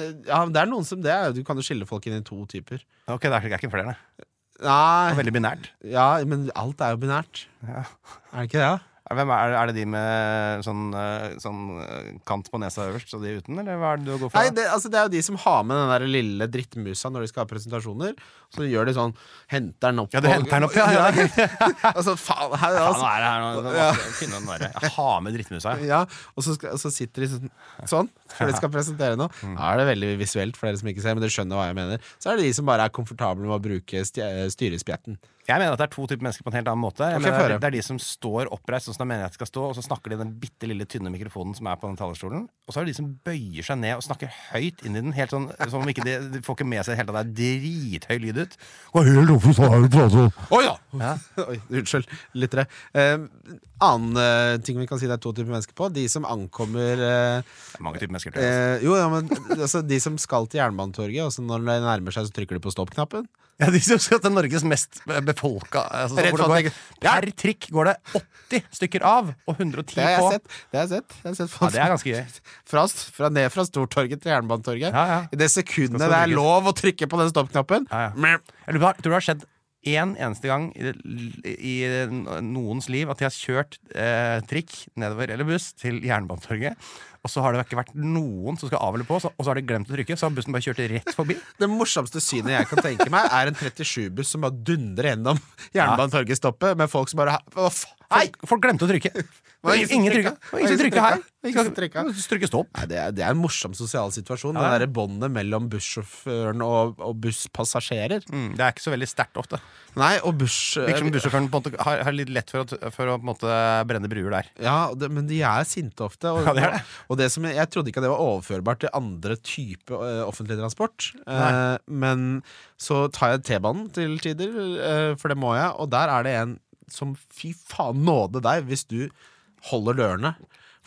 men det er noen som det er. Du kan jo skille folk inn i to typer. Ok, det er slik- det er ikke flere, nei. Det er Nei, Veldig binært. ja, men alt er jo binært. Ja. Er det ikke det? da? Hvem er, er det de med sånn, eh, sånn eh, kant på nesa øverst, og de uten, eller hva er det du går for? Nei, det, altså, det er jo de som har med den der lille drittmusa når de skal ha presentasjoner. Så gjør de sånn Henter den opp Ja, du og- henter den opp, ja, ja. [LAUGHS] altså, faen, her, Faen, altså. hva er det her nå? Det er vanskelig å finne den derre. Jeg har med drittmusa. jeg. Ja, og så, skal, og så sitter de sånn, sånn før de skal presentere noe. Mm. Da er det veldig visuelt for dere som ikke ser, men dere skjønner hva jeg mener. Så er det de som bare er komfortable med å bruke stje- eh, styrespjetten. Jeg mener at det er to typer mennesker på en helt annen måte. Jeg Ok, mener få det, høre. er- det er de som står oppreist, sånn som jeg mener jeg skal stå, og så snakker de i den bitte lille tynne mikrofonen som er på den talerstolen. Og så er det de som bøyer seg ned og snakker høyt inn i den, helt sånn som om ikke de, de får ikke med seg helt at det er drithøy lyd ut. Hva er det du prater om? Oi da! Ja. [LAUGHS] Oi, unnskyld, lyttere. Eh, annen eh, ting vi kan si det er to typer mennesker på. De som ankommer eh, Det er mange typer mennesker. tror jeg, eh, Jo, ja, men altså, de som skal til Jernbanetorget, og så når det nærmer seg, så trykker de på stopp-knappen. altså. Ja, de som skal til Norges mest befolka altså, så Rett hvor det fatt- går, Per trikk går det 80 stykker av, og 110 Det har jeg på. sett. Det har jeg sett. Jeg har sett Ja, folk det er ganske gøy. [LAUGHS] fra, fra ned fra Stortorget til Jernbanetorget. Ja, ja. I det sekundet Skal det er trykkes. lov å trykke på den stopp-knappen Ja, ja. meh, Jeg lurer på, tror du det har skjedd én eneste gang i, i noens liv at de har kjørt eh, trikk nedover eller buss til Jernbanetorget, og så har det ikke vært noen som skal av eller på, så, og så har de glemt å trykke, så har bussen bare kjørt rett forbi? Det morsomste synet jeg kan tenke meg, er en 37-buss som bare dundrer gjennom [LAUGHS] Jernbanetorget-stoppet med folk som bare Hva Nei, faen? folk glemte å trykke! var ingen Ingen, som ingen trykka. trykka. Det var Ingen som Det var ingen trykka her. som trykka. Skal- Trykke stopp. Nei, det, er, det er en morsom sosial situasjon. Ja, ja. Det der båndet mellom bussjåføren og, og busspassasjerer. Mm, det er ikke så veldig sterkt ofte. Nei, og buss... Virker som bussjåføren på en måte har, har litt lett for å, for å på en måte brenne bruer der. Ja, det, men de er sinte ofte. Og, Ja, det er det. og det som jeg, jeg trodde ikke at det var overførbart til andre type eh, offentlig transport. Eh, Nei. men så tar jeg T-banen til tider, eh, for det må jeg, og der er det en som fy faen nåde deg hvis du holder dørene.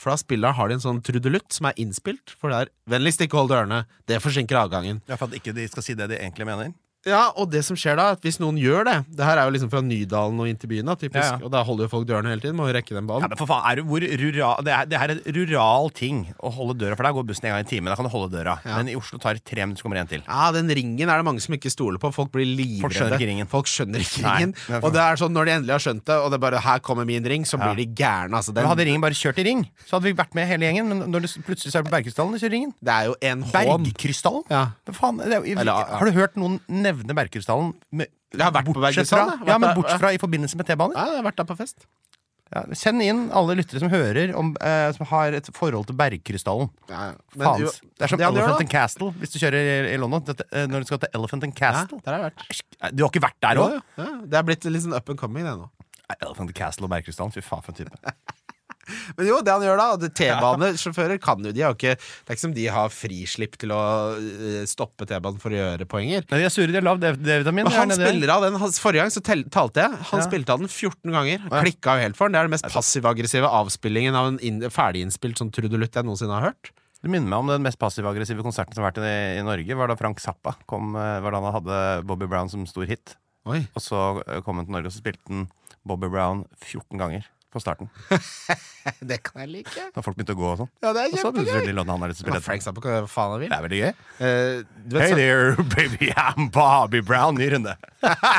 For da spiller, har de en sånn trudelutt som er innspilt, for det er 'vennligst ikke hold dørene', det forsinker avgangen. Ja, For at ikke de skal si det de egentlig mener. Ja, og det som skjer da, er at hvis noen gjør det Det her er jo liksom fra Nydalen og inn til byen, da, typisk. Ja, ja. Og da holder jo folk dørene hele tiden. Må jo rekke den banen. Ja, men for faen, er du, hvor rural, det, er, det er en rural ting å holde døra, for der går bussen en gang i timen. Da kan du holde døra. Men i Oslo tar det tre minutter, så kommer det en til. Ja, den ringen er det mange som ikke stoler på. Folk blir livredde. Folk skjønner ikke ringen. Folk skjønner ikke Nei, ringen. det er for- og det er sånn når de endelig har skjønt det, og det er bare 'her kommer min ring', så blir de gærne. Altså, den, Men hadde ringen bare kjørt i ring, så hadde vi vært med hele gjengen. Men når det s- plutselig så er det på Bergkrystallen, det kjører ringen. det er jo en hån. Bergkrystallen? Ja. Hva faen? Det er, jo- Eller, ja. Har du hørt noen nevne Bergkrystallen? med- Jeg har vært på bortsett Bergkrystallen, fra- jeg. Ja, men Vært der, bortsett fra i forbindelse med T-baner. Ja, jeg har vært der på fest. Ja, send inn alle lyttere som hører om, eh, som har et forhold til Bergkrystallen. Ja, ja. Men Faen. jo, Det er som det han gjør, Elephant da. and Castle hvis du kjører i, i London. Dette, eh, når du skal til Elephant and Ja, Castle. der har jeg vært. Nei, Du har ikke vært der Jo, òg? jo, ja. Det er blitt litt sånn up and coming, det nå. Nei, Elephant Castle og Bergkrystallen. Fy faen, for en type. Men jo, det han gjør da, [LAUGHS] det- T-banesjåfører kan jo de har jo ikke, Det er ikke som de har frislipp til å øh, stoppe T-banen for å gjøre poenger. Nei, de er sure, de har lav D- D-vitamin. Men de er han nede der. spiller av den hans, Forrige gang så tel, talte jeg. Han Ja. spilte av den 14 ganger. Klikka jo helt for den. Det er den mest passiv-aggressive avspillingen av en inn, ferdiginnspilt sånn trudelutt jeg noensinne har hørt. Det minner meg om den mest passiv-aggressive konserten som har vært i, i Norge. Var da Frank Zappa kom, eh, var da han hadde Bobby Brown som stor hit. Oi Og så eh, kom han til Norge og så spilte han Bobby Brown 14 ganger på starten. [LAUGHS] Det kan jeg like. Da folk begynte å gå og sånn. Ja, det er Og så kjempegøy. plutselig de lånene han har lyst til å Ja, spille. Frank Zappa kan gjøre hva faen han vil. Det er veldig gøy. Eh, du vet Hey sånn- there, [LAUGHS] baby, I'm Bobby Brown. Ny runde. [LAUGHS]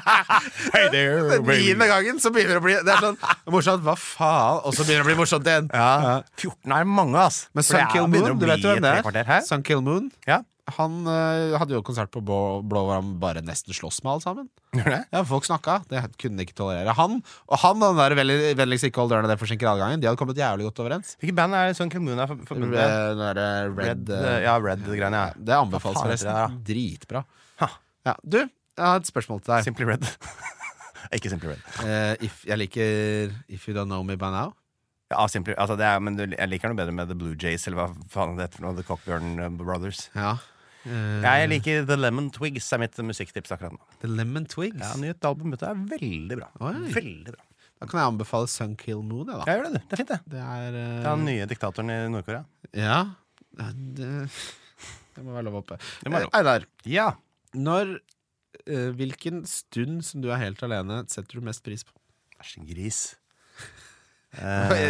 hey there, Den baby. niende gangen så begynner det å bli Det er [LAUGHS] sånn morsomt, hva faen? Og så begynner det å bli morsomt igjen. Ja. 14 er mange, ass. Men For det Sun er- Kill begynner Moon, å du vet bli jo et hvem tre kvarter det her. er? Sun Kill Moon Ja. Han eh, hadde jo konsert på Blå, Blå hvor han bare nesten sloss med alle sammen. Gjør det? Ja, folk snakka. Det kunne de ikke tolerere. Han og han og den der veldig- vennligst ikke hold dørene, det forsinker adgangen. De hadde kommet jævlig godt overens. Eh, Hvilket band er Sun Kill Moon er for- Den forbundet med? derre Red, eh, ja, Red-greiene. Ja. Det anbefales Hva faen heter forresten. Dritbra. Ha. Ja, du, jeg har et spørsmål til deg. Simply Red. [LAUGHS] Ikke Simply Red. Eh, if, jeg liker If You Don't Know Me By Now. Ja, Simply, altså det er, men du, jeg liker noe bedre med The Blue Jays eller hva faen det heter. for noe, The Cockburn eh, Brothers. Ja. Eh, Jeg liker The Lemon Twigs, er mitt musikktips akkurat nå. The Lemon Twigs. Ja, Nytt album ute er veldig bra. Oi. Veldig bra. Da kan jeg anbefale Sun Kill Moon, jeg, da. Ja, gjør det, du. Det er fint, det. Det er Det er eh, den nye diktatoren i Nord-Korea. Ja. Det, [LAUGHS] det må være lov å hoppe. Det må være lov. Eh, Einar. Ja. Når eh, Hvilken stund som du er helt alene, setter du mest [LAUGHS] pris på? Æsj, en gris. det,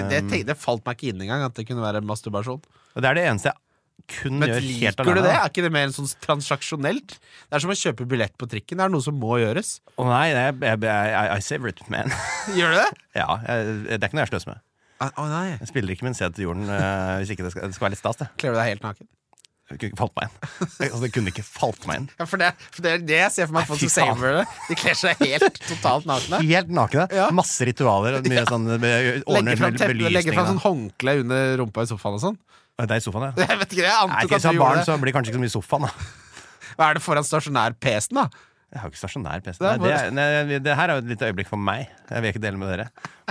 Um, tenk- det falt meg ikke inn engang at det kunne være masturbasjon. og det er det eneste jeg kun Men gjør helt liker du alene. det? Mm, Er ikke det mer en sånn transaksjonelt? Det er som å kjøpe billett på trikken. Det er noe som må gjøres. Å nei, det er, jeg, jeg, jeg, I savor it, man. [LAUGHS] [LAUGHS] Gjør du det? ja, jeg, det er ikke noe jeg sløser med. Ah, Å nei. Jeg spiller ikke min sæd til jorden eh, hvis ikke det skal, det skal være litt stas. Det. Kler du deg helt naken? det kunne ikke falt [LAUGHS] meg inn. Altså, det kunne ikke falt meg inn. Ja, for det, for det er det jeg ser for meg folk fy som saver det. De kler seg helt [LAUGHS] totalt nakne. Helt nakne. Ja. Masse ritualer og mye sånn eh, Legger ordner fram, med teppe, legger belysning. fram da. sånn håndkle under rumpa i sofaen og sånn. Å, Det er i sofaen, ja. [LAUGHS] Jeg vet ikke, jeg Nei, antok ikke at hvis jeg du har barn, gjorde det. så blir det kanskje ikke så mye i sofaen. Da. Hva er det foran stasjonær-PC-en, da? Jeg har jo ikke stasjonær PC. Det Nei, er Det, bare- er- nei, det her er jo et lite øyeblikk for meg. Jeg vil ikke dele med dere.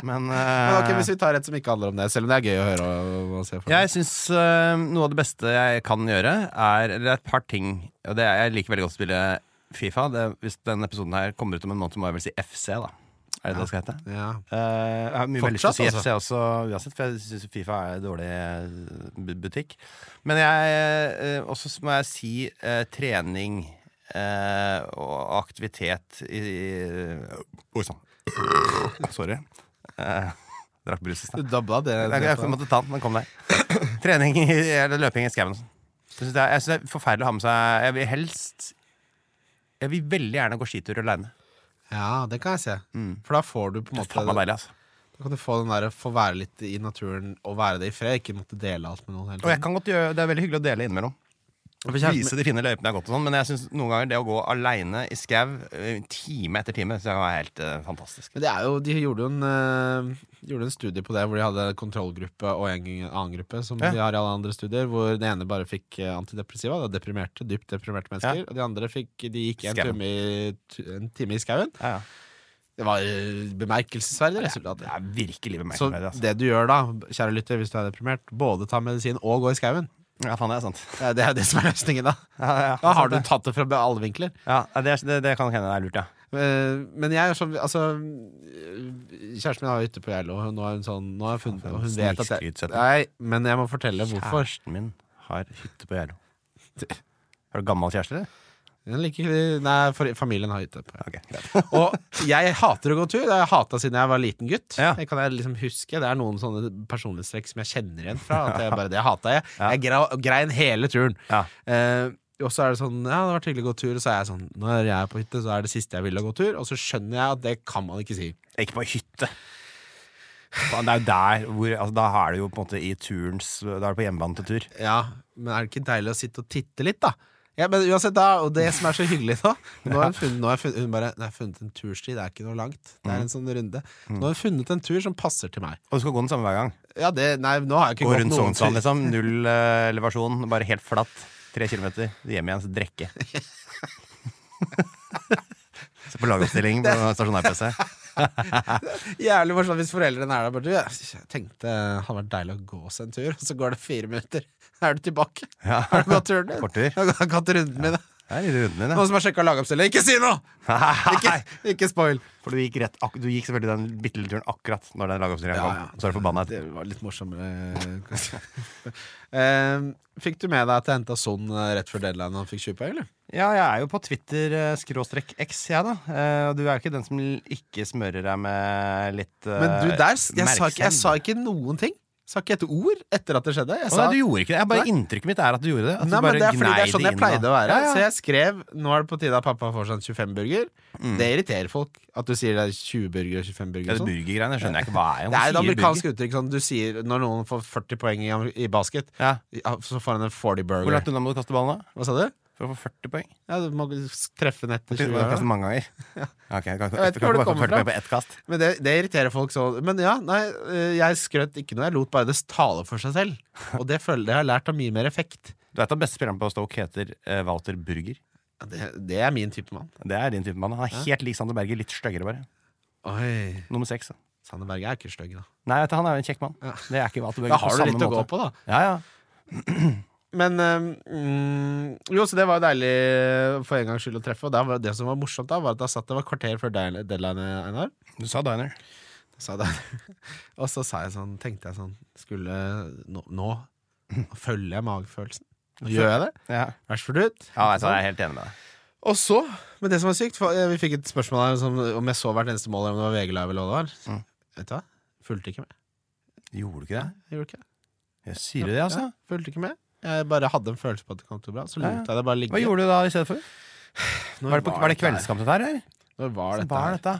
Men [LAUGHS] Men eh, ok, Hvis vi tar et som ikke handler om det, selv om det er gøy å høre og, og se for jeg syns eh, noe av det beste jeg kan gjøre, er Eller det er et par ting. Og det er, jeg liker veldig godt å spille Fifa. Det, hvis denne episoden her kommer ut om en måned, så må jeg vel si FC, da. Er det det det skal hete? Ja. Eh, jeg har mye Fortsatt, veldig lyst til å si altså? FC også, uansett, for jeg syns Fifa er en dårlig eh, bu- butikk. Men jeg eh, også s- må jeg si eh, trening eh, og aktivitet i, i Oi sann. Sorry. Eh, Drakk brus i stad. Du dabba det. Jeg, jeg måtte ta den, den [COUGHS] kom der. Trening i, eller løping i skauen. sånn. Jeg syns det, er- jeg synes det er forferdelig å ha med seg Jeg vil helst Jeg vil veldig gjerne gå skitur aleine. Ja, det kan jeg se. Mm. For da får du på en måte Da Deilig, altså. kan du få den der få være litt i naturen og være det i fred, ikke måtte dele alt med noen hele Og jeg kan godt gjøre, det er veldig hyggelig å dele innimellom. Vise de fine løypene jeg har gått og sånn, men jeg synes noen ganger det å gå aleine i skau eh, time etter time, så er helt eh, fantastisk. Men det er jo, de gjorde jo en, eh, gjorde en studie på det, hvor de hadde en kontrollgruppe og en annen gruppe, som Ja. de har i alle andre studier, hvor den ene bare fikk eh, antidepressiva, det er deprimerte, dypt deprimerte mennesker, og de andre fikk, de gikk en Skauen. time, i, tu- en time i skauen. Ja, ja. Det var eh, bemerkelsesverdige resultater. Det er virkelig Så bemerkelsesverdig. Altså. det du gjør da, kjære lytter, hvis du er deprimert, både ta medisin og gå i skauen. Ja, faen, det er sant. Det er det, er det som er løsningen, da. Ja, ja, ja, Da har sant du det. tatt det fra alle vinkler. ja, det, er- det, det kan hende det er lurt, ja. Eh, Men jeg er sånn Altså, eh, kjæresten min har hytte på Geilo, og nå er hun sånn Nå har jeg funnet Faen, og Hun vet at jeg snikskrytsetting. Nei, men jeg må fortelle hvorfor. Kjæresten min har hytte på Geilo. [LAUGHS] Har du gammel kjæreste, eller? Hun liker Nei, for, familien har hytte på Geilo. Ok, greit. Og jeg hater å gå tur. Det har jeg hata siden jeg var liten gutt. Ja. Det kan jeg liksom huske Det er noen sånne personlighetstrekk som jeg kjenner igjen fra. [LAUGHS] At jeg bare, Det hata jeg. Jeg gra- grein hele turen. Ja. Eh, og så er det sånn Ja, det har vært hyggelig å gå tur. Og så er jeg sånn Når jeg er på hytte, så er det siste jeg vil å gå tur. Og så skjønner jeg at det kan man ikke si. Ikke på hytte. Faen, det er jo der hvor altså, Da er det jo på en måte i turens Da er det på hjemmebane til tur. Ja, men er det ikke deilig å sitte og titte litt, da? Ja, men uansett, da, og det som er så hyggelig nå Nå har hun funnet, nå har jeg funnet, hun bare, "Nei, jeg har funnet en tursti, det er ikke noe langt. Det er en sånn runde. Nå har hun funnet en tur som passer til meg. Og du skal gå den samme hver gang. Ja, det, nei, nå har jeg ikke Og gått rundt noen tur. Sognsvann, liksom. Null eh, elevasjon, bare helt flatt. Tre kilometer, hjem igjen, så drekke. [LAUGHS] Se på lagoppstilling på stasjonær-PC. Jævlig morsomt hvis foreldrene er der bare du, Jeg tenkte det hadde vært deilig å gå oss en tur, og så går det fire minutter. Da er du tilbake. Ja. Har du gått turen din? Kort tur. Har du Gått runden min. Det er litt runden din, Noen som har sjekka lagoppstilling? Ikke si noe! Ikke, ikke spoil. For du gikk, rett, ak du gikk selvfølgelig den bitte lille turen akkurat når den lagoppstillingen Ja, kom. ja. Så er du forbanna Det etter. var litt morsommere. Eh, Fikk du med deg at jeg henta Son eh, rett før deadline og han fikk 20 poeng, eller? Ja, jeg er jo på Twitter eh, skråstrekk X, jeg, da. Eh, Og du er jo ikke den som l- ikke smører deg med litt eh, Men du, der Jeg, sa ikke, jeg merksemd. sa ikke noen ting. Sa ikke et ord etter at det skjedde. Jeg Å, sa nei, du gjorde ikke det. Jeg bare Inntrykket mitt er at du gjorde det. At du Nei, bare men det er fordi det gnei er sånn jeg inn, pleide da. å være. Ja, ja. Så jeg skrev Nå er det på tide at pappa får seg en 25-burger. Det irriterer folk at du sier det er 20-burger og 25-burger. Mm. Ja, og det sånn. burgergreiene skjønner jeg ikke hva er. Det er et Hvorfor sier burger? amerikansk uttrykk. Sånn, du sier når noen får 40 poeng i, am- i basket, Ja. ja, så får han en Hvor 40-burger. langt unna må du kaste ballen, da? Hva sa du? For å få 40 poeng? Ja, Du må treffe den etter Du 20 må år. kaste da. [LAUGHS] mange ganger. Ok, jeg kan, ikke- Jeg vet ikke kan hvor ikke det bare få kommer 40 poeng fra. på ett kast. Men det, det irriterer folk så Men ja, nei, eh, jeg skrøt ikke noe. Jeg lot bare det tale for seg [LAUGHS] selv. Og det føler jeg har lært av mye mer effekt. Du vet at beste spilleren på Stoke heter eh, Walter Burger. Ja, Det, det er min type mann. Det er din type mann. Han er helt lik Sander Berger, litt styggere bare. Oi. Nummer seks. da. Sanne Berge er ikke stygg, da. Nei, vet du, han er jo en kjekk mann. Ja. Det er ikke Walter Burger Da har du litt å gå på, da. Ja, ja. Men øhm, mm, Jo, så det var jo deilig for en gangs skyld å treffe. Og da var det som var morsomt, da var at da satt det var kvarter før deadline, deadline Einar. Du sa diner. Sa det. [LAUGHS] og så sa jeg sånn, tenkte jeg sånn Skulle Nå, [LAUGHS] nå følger jeg magefølelsen. Nå gjør jeg det. Ja, Vær så fornøyd. ja vet du, jeg er helt enig med deg. Og så, men det som var sykt for, eh, Vi fikk et spørsmål her som, om jeg så hvert eneste mål, eller om det var VG Live eller hva det var. Mm. Vet du hva? Fulgte ikke med. Gjorde du ikke det? Jeg gjorde ikke det. Jeg sier du det, altså? Ja, fulgte ikke med. Jeg bare hadde en følelse på at det kom til å bli bra. Så lot Ja. jeg det bare ligge. Hva gjorde du da i stedet for? Når Var det, på, var det kveldskamp dette her, eller? Når var Så dette? var her? dette?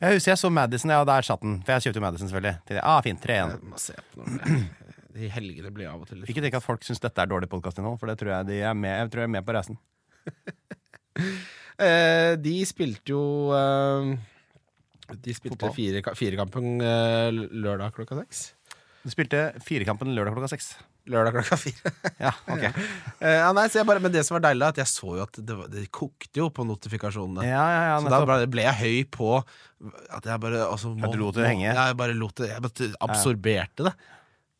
Jeg husker jeg så Madison, ja, der satt den. For jeg kjøpte jo Madison, selvfølgelig. Til, ah, fint, 3-1 Jeg må se på noe. De helgene blir av og til liksom. litt Ikke tenk at folk syns dette er dårlig podkastinnhold, for det tror jeg de er med, jeg tror jeg er med på reisen. eh, De spilte jo eh, De spilte Fotball. fire- firekampen eh, lørdag klokka seks. Du spilte Firekampen lørdag klokka seks. Lørdag klokka fire. [LAUGHS] Ja, ok Eh, ja, nei, så jeg bare, men det som var deilig, er at jeg så jo at det, var, det kokte jo på notifikasjonene. Ja, ja, ja, Så da nettopp. ble, ble jeg høy på at jeg bare altså, må, du lot det må- henge? Ja, jeg bare lot det Jeg bare absorberte det.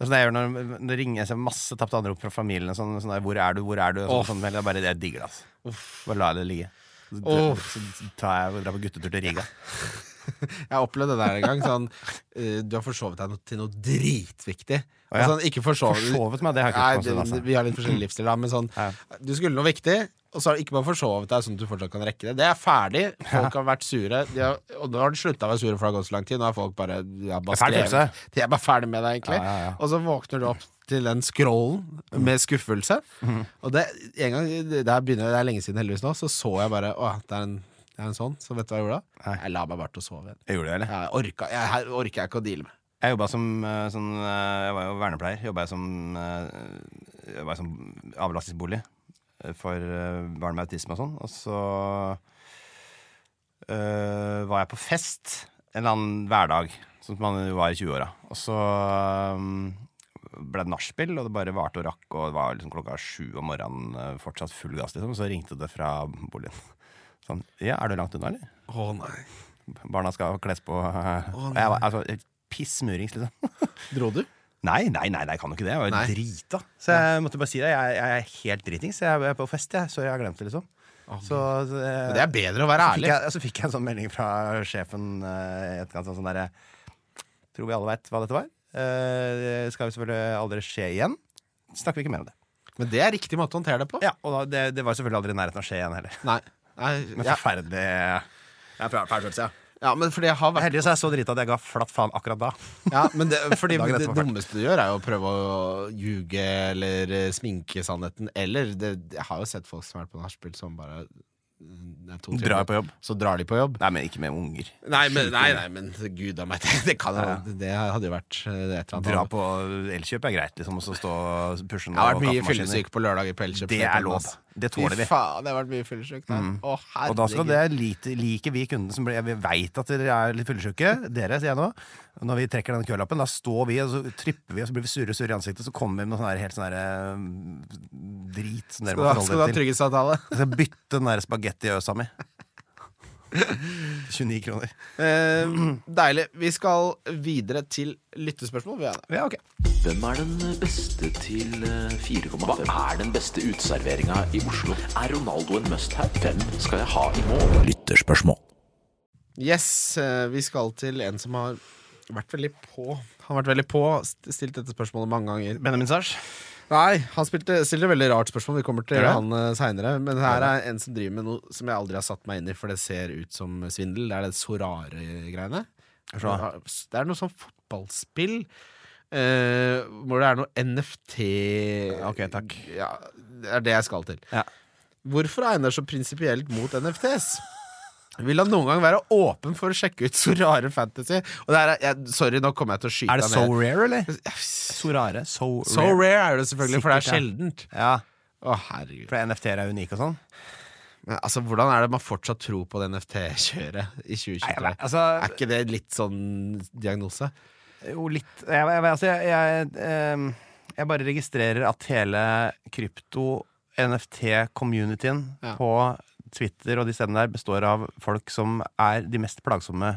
Det er sånn jeg gjør når når det ringer jeg ser masse tapte anrop fra familien. og Sånn, sånn der, 'Hvor er du? Hvor er du?' Og sånn, Åh. sånn, jeg bare, jeg digger det, altså. Bare la det ligge. Så, Åh. så tar jeg og drar på guttetur til Riga. Jeg opplevde det der en gang. Sånn, eh, du har forsovet deg no til noe dritviktig. Å, ja. Og sånn, ikke forsovet, Forsovet meg, det har jeg Nei, ikke gjort på en det- stund. Vi har litt forskjellig livsstil, da, men sånn altså. Ja. Du skulle noe viktig, og så har du ikke bare forsovet deg sånn at du fortsatt kan rekke det. Det er ferdig. Folk har vært sure, de har, og nå har de slutta å være sure, for det har gått så lang tid. Nå er folk bare De er bare, Det er ferdig, skrevet. De er bare ferdig med deg, egentlig. Ja, ja, Mm. ja. Og så våkner du opp til den scrollen med skuffelse. Mm. Og det, en gang, det, her begynner, det er lenge siden, heldigvis nå, så så jeg bare Å, det er en, det er en sånn. Så vet du hva jeg gjorde da? Nei. Jeg la meg bare til å sove igjen. Jeg gjorde det, eller? Jeg orka, jeg, her orker jeg ikke å deale med. Jeg jobba som eh, sånn eh, Jeg var jo vernepleier. Jobba jeg som eh, Jobba jeg som avlastningsbolig eh, for eh, barn med autisme og sånn. Og så eh, var jeg på fest en eller annen hverdag, sånn som man jo var i 20-åra. Og så eh, ble det nachspiel, og det bare varte og rakk, og det var liksom klokka sju om morgenen, eh, fortsatt full gass, liksom. Og så ringte det fra boligen. Sånn Ja, er du langt unna, eller? Å nei. Barna skal kles på. eh, Å, og jeg var altså, pissmurings, liksom. Dro du? Nei, nei, nei, nei, jeg kan jo ikke det. Jeg var Nei. jo drita. Så jeg måtte bare si det. Jeg, jeg er helt dritings. Jeg er på fest, jeg. Så jeg har glemt det, liksom. Så, eh, så, Men det er bedre å være fikk ærlig. jeg, så fikk jeg en sånn melding fra sjefen eh, i etterkant. Sånn derre Tror vi alle veit hva dette var. Eh, Det skal jo selvfølgelig aldri skje igjen. Snakker vi ikke mer om det. Men det er riktig måte å håndtere det på. Ja, Og da, det, det var jo selvfølgelig aldri i nærheten av å skje igjen heller. Nei. nei Men ja. forferdelig Det er fæl følelse, ja. ja, men fordi jeg har vært Heldigvis er jeg så drita at jeg ga flatt faen akkurat da. ja, men det, fordi [LAUGHS] Dagen det etterpå, faktisk. dummeste du gjør, er jo å prøve å ljuge eller eh, sminke sannheten. Eller det, Jeg har jo sett folk som har vært på nachspiel som bare det er to timer, Drar på jobb. Så drar de på jobb. Nei, men ikke med unger. Nei, men, nei, nei, men gud a meg, [LAUGHS] det, det kan jo Det hadde jo vært eh, et eller annet. Dra annet. på Elkjøp er greit, liksom, og så stå og pushe Jeg har vært mye kaffemaskiner. fyllesyk på lørdager på Elkjøp. Det er lov. Det tåler vi. Fy Mm. faen, det har vært mye fyllesyk der. Å, Og da skal herregud. det lite, like vi kundene som blir Vi veit at dere er litt fyllesyke, dere, sier jeg nå. Når vi trekker den kølappen, da står vi, og så tripper vi, og så blir vi surre surre i ansiktet, så kommer vi med noe sånn her helt sånn her eh, drit som dere Skal du må ha- skal du forholde ha dere til. [LAUGHS] trygghetsavtale? Jeg skal bytte den der spagettiøsa mi. 29 kroner. Eh, deilig. Vi skal videre til lyttespørsmål. Vi er det. Ja, ok. Hvem er den beste til eh, 4,5? Hva er den beste uteserveringa i Oslo? Er Ronaldo en must-have? Hvem skal jeg ha i mål? Lytterspørsmål. Yes, eh, vi skal til en som har vært veldig på. Han har vært veldig på, st- stilt dette spørsmålet mange ganger. Benjamin Sars. Nei, han spilte, stilte et veldig rart spørsmål. Vi kommer til Gjør det? han uh, seinere. Men her er en som driver med noe som jeg aldri har satt meg inn i, for det ser ut som svindel. Det er det Sorare-greiene. Det er noe sånn fotballspill. eh, hvor det er noe NFT Ok, takk. Ja, Det er det jeg skal til. Ja. Hvorfor er Einar så prinsipielt mot NFTs? Vil han noen gang være åpen for å sjekke ut så rare fantasy? Og det her er, jeg, sorry, nå kommer jeg til å skyte Er det so han ned. rare, eller? So rare. So rare. So rare er det selvfølgelig, for det er Sikkert, sjeldent. Ja, Å, herregud. For NFT-er er unike og sånn. Men, altså, hvordan er det man fortsatt tror på det NFT-kjøret i Nei, 2023? jeg vet- altså- er ikke det litt sånn diagnose? Jo, litt Jeg, jeg, altså, jeg, jeg, ehm, jeg bare registrerer at hele krypto-NFT-communityen Ja. på Twitter og de stedene der består av folk som er de mest plagsomme.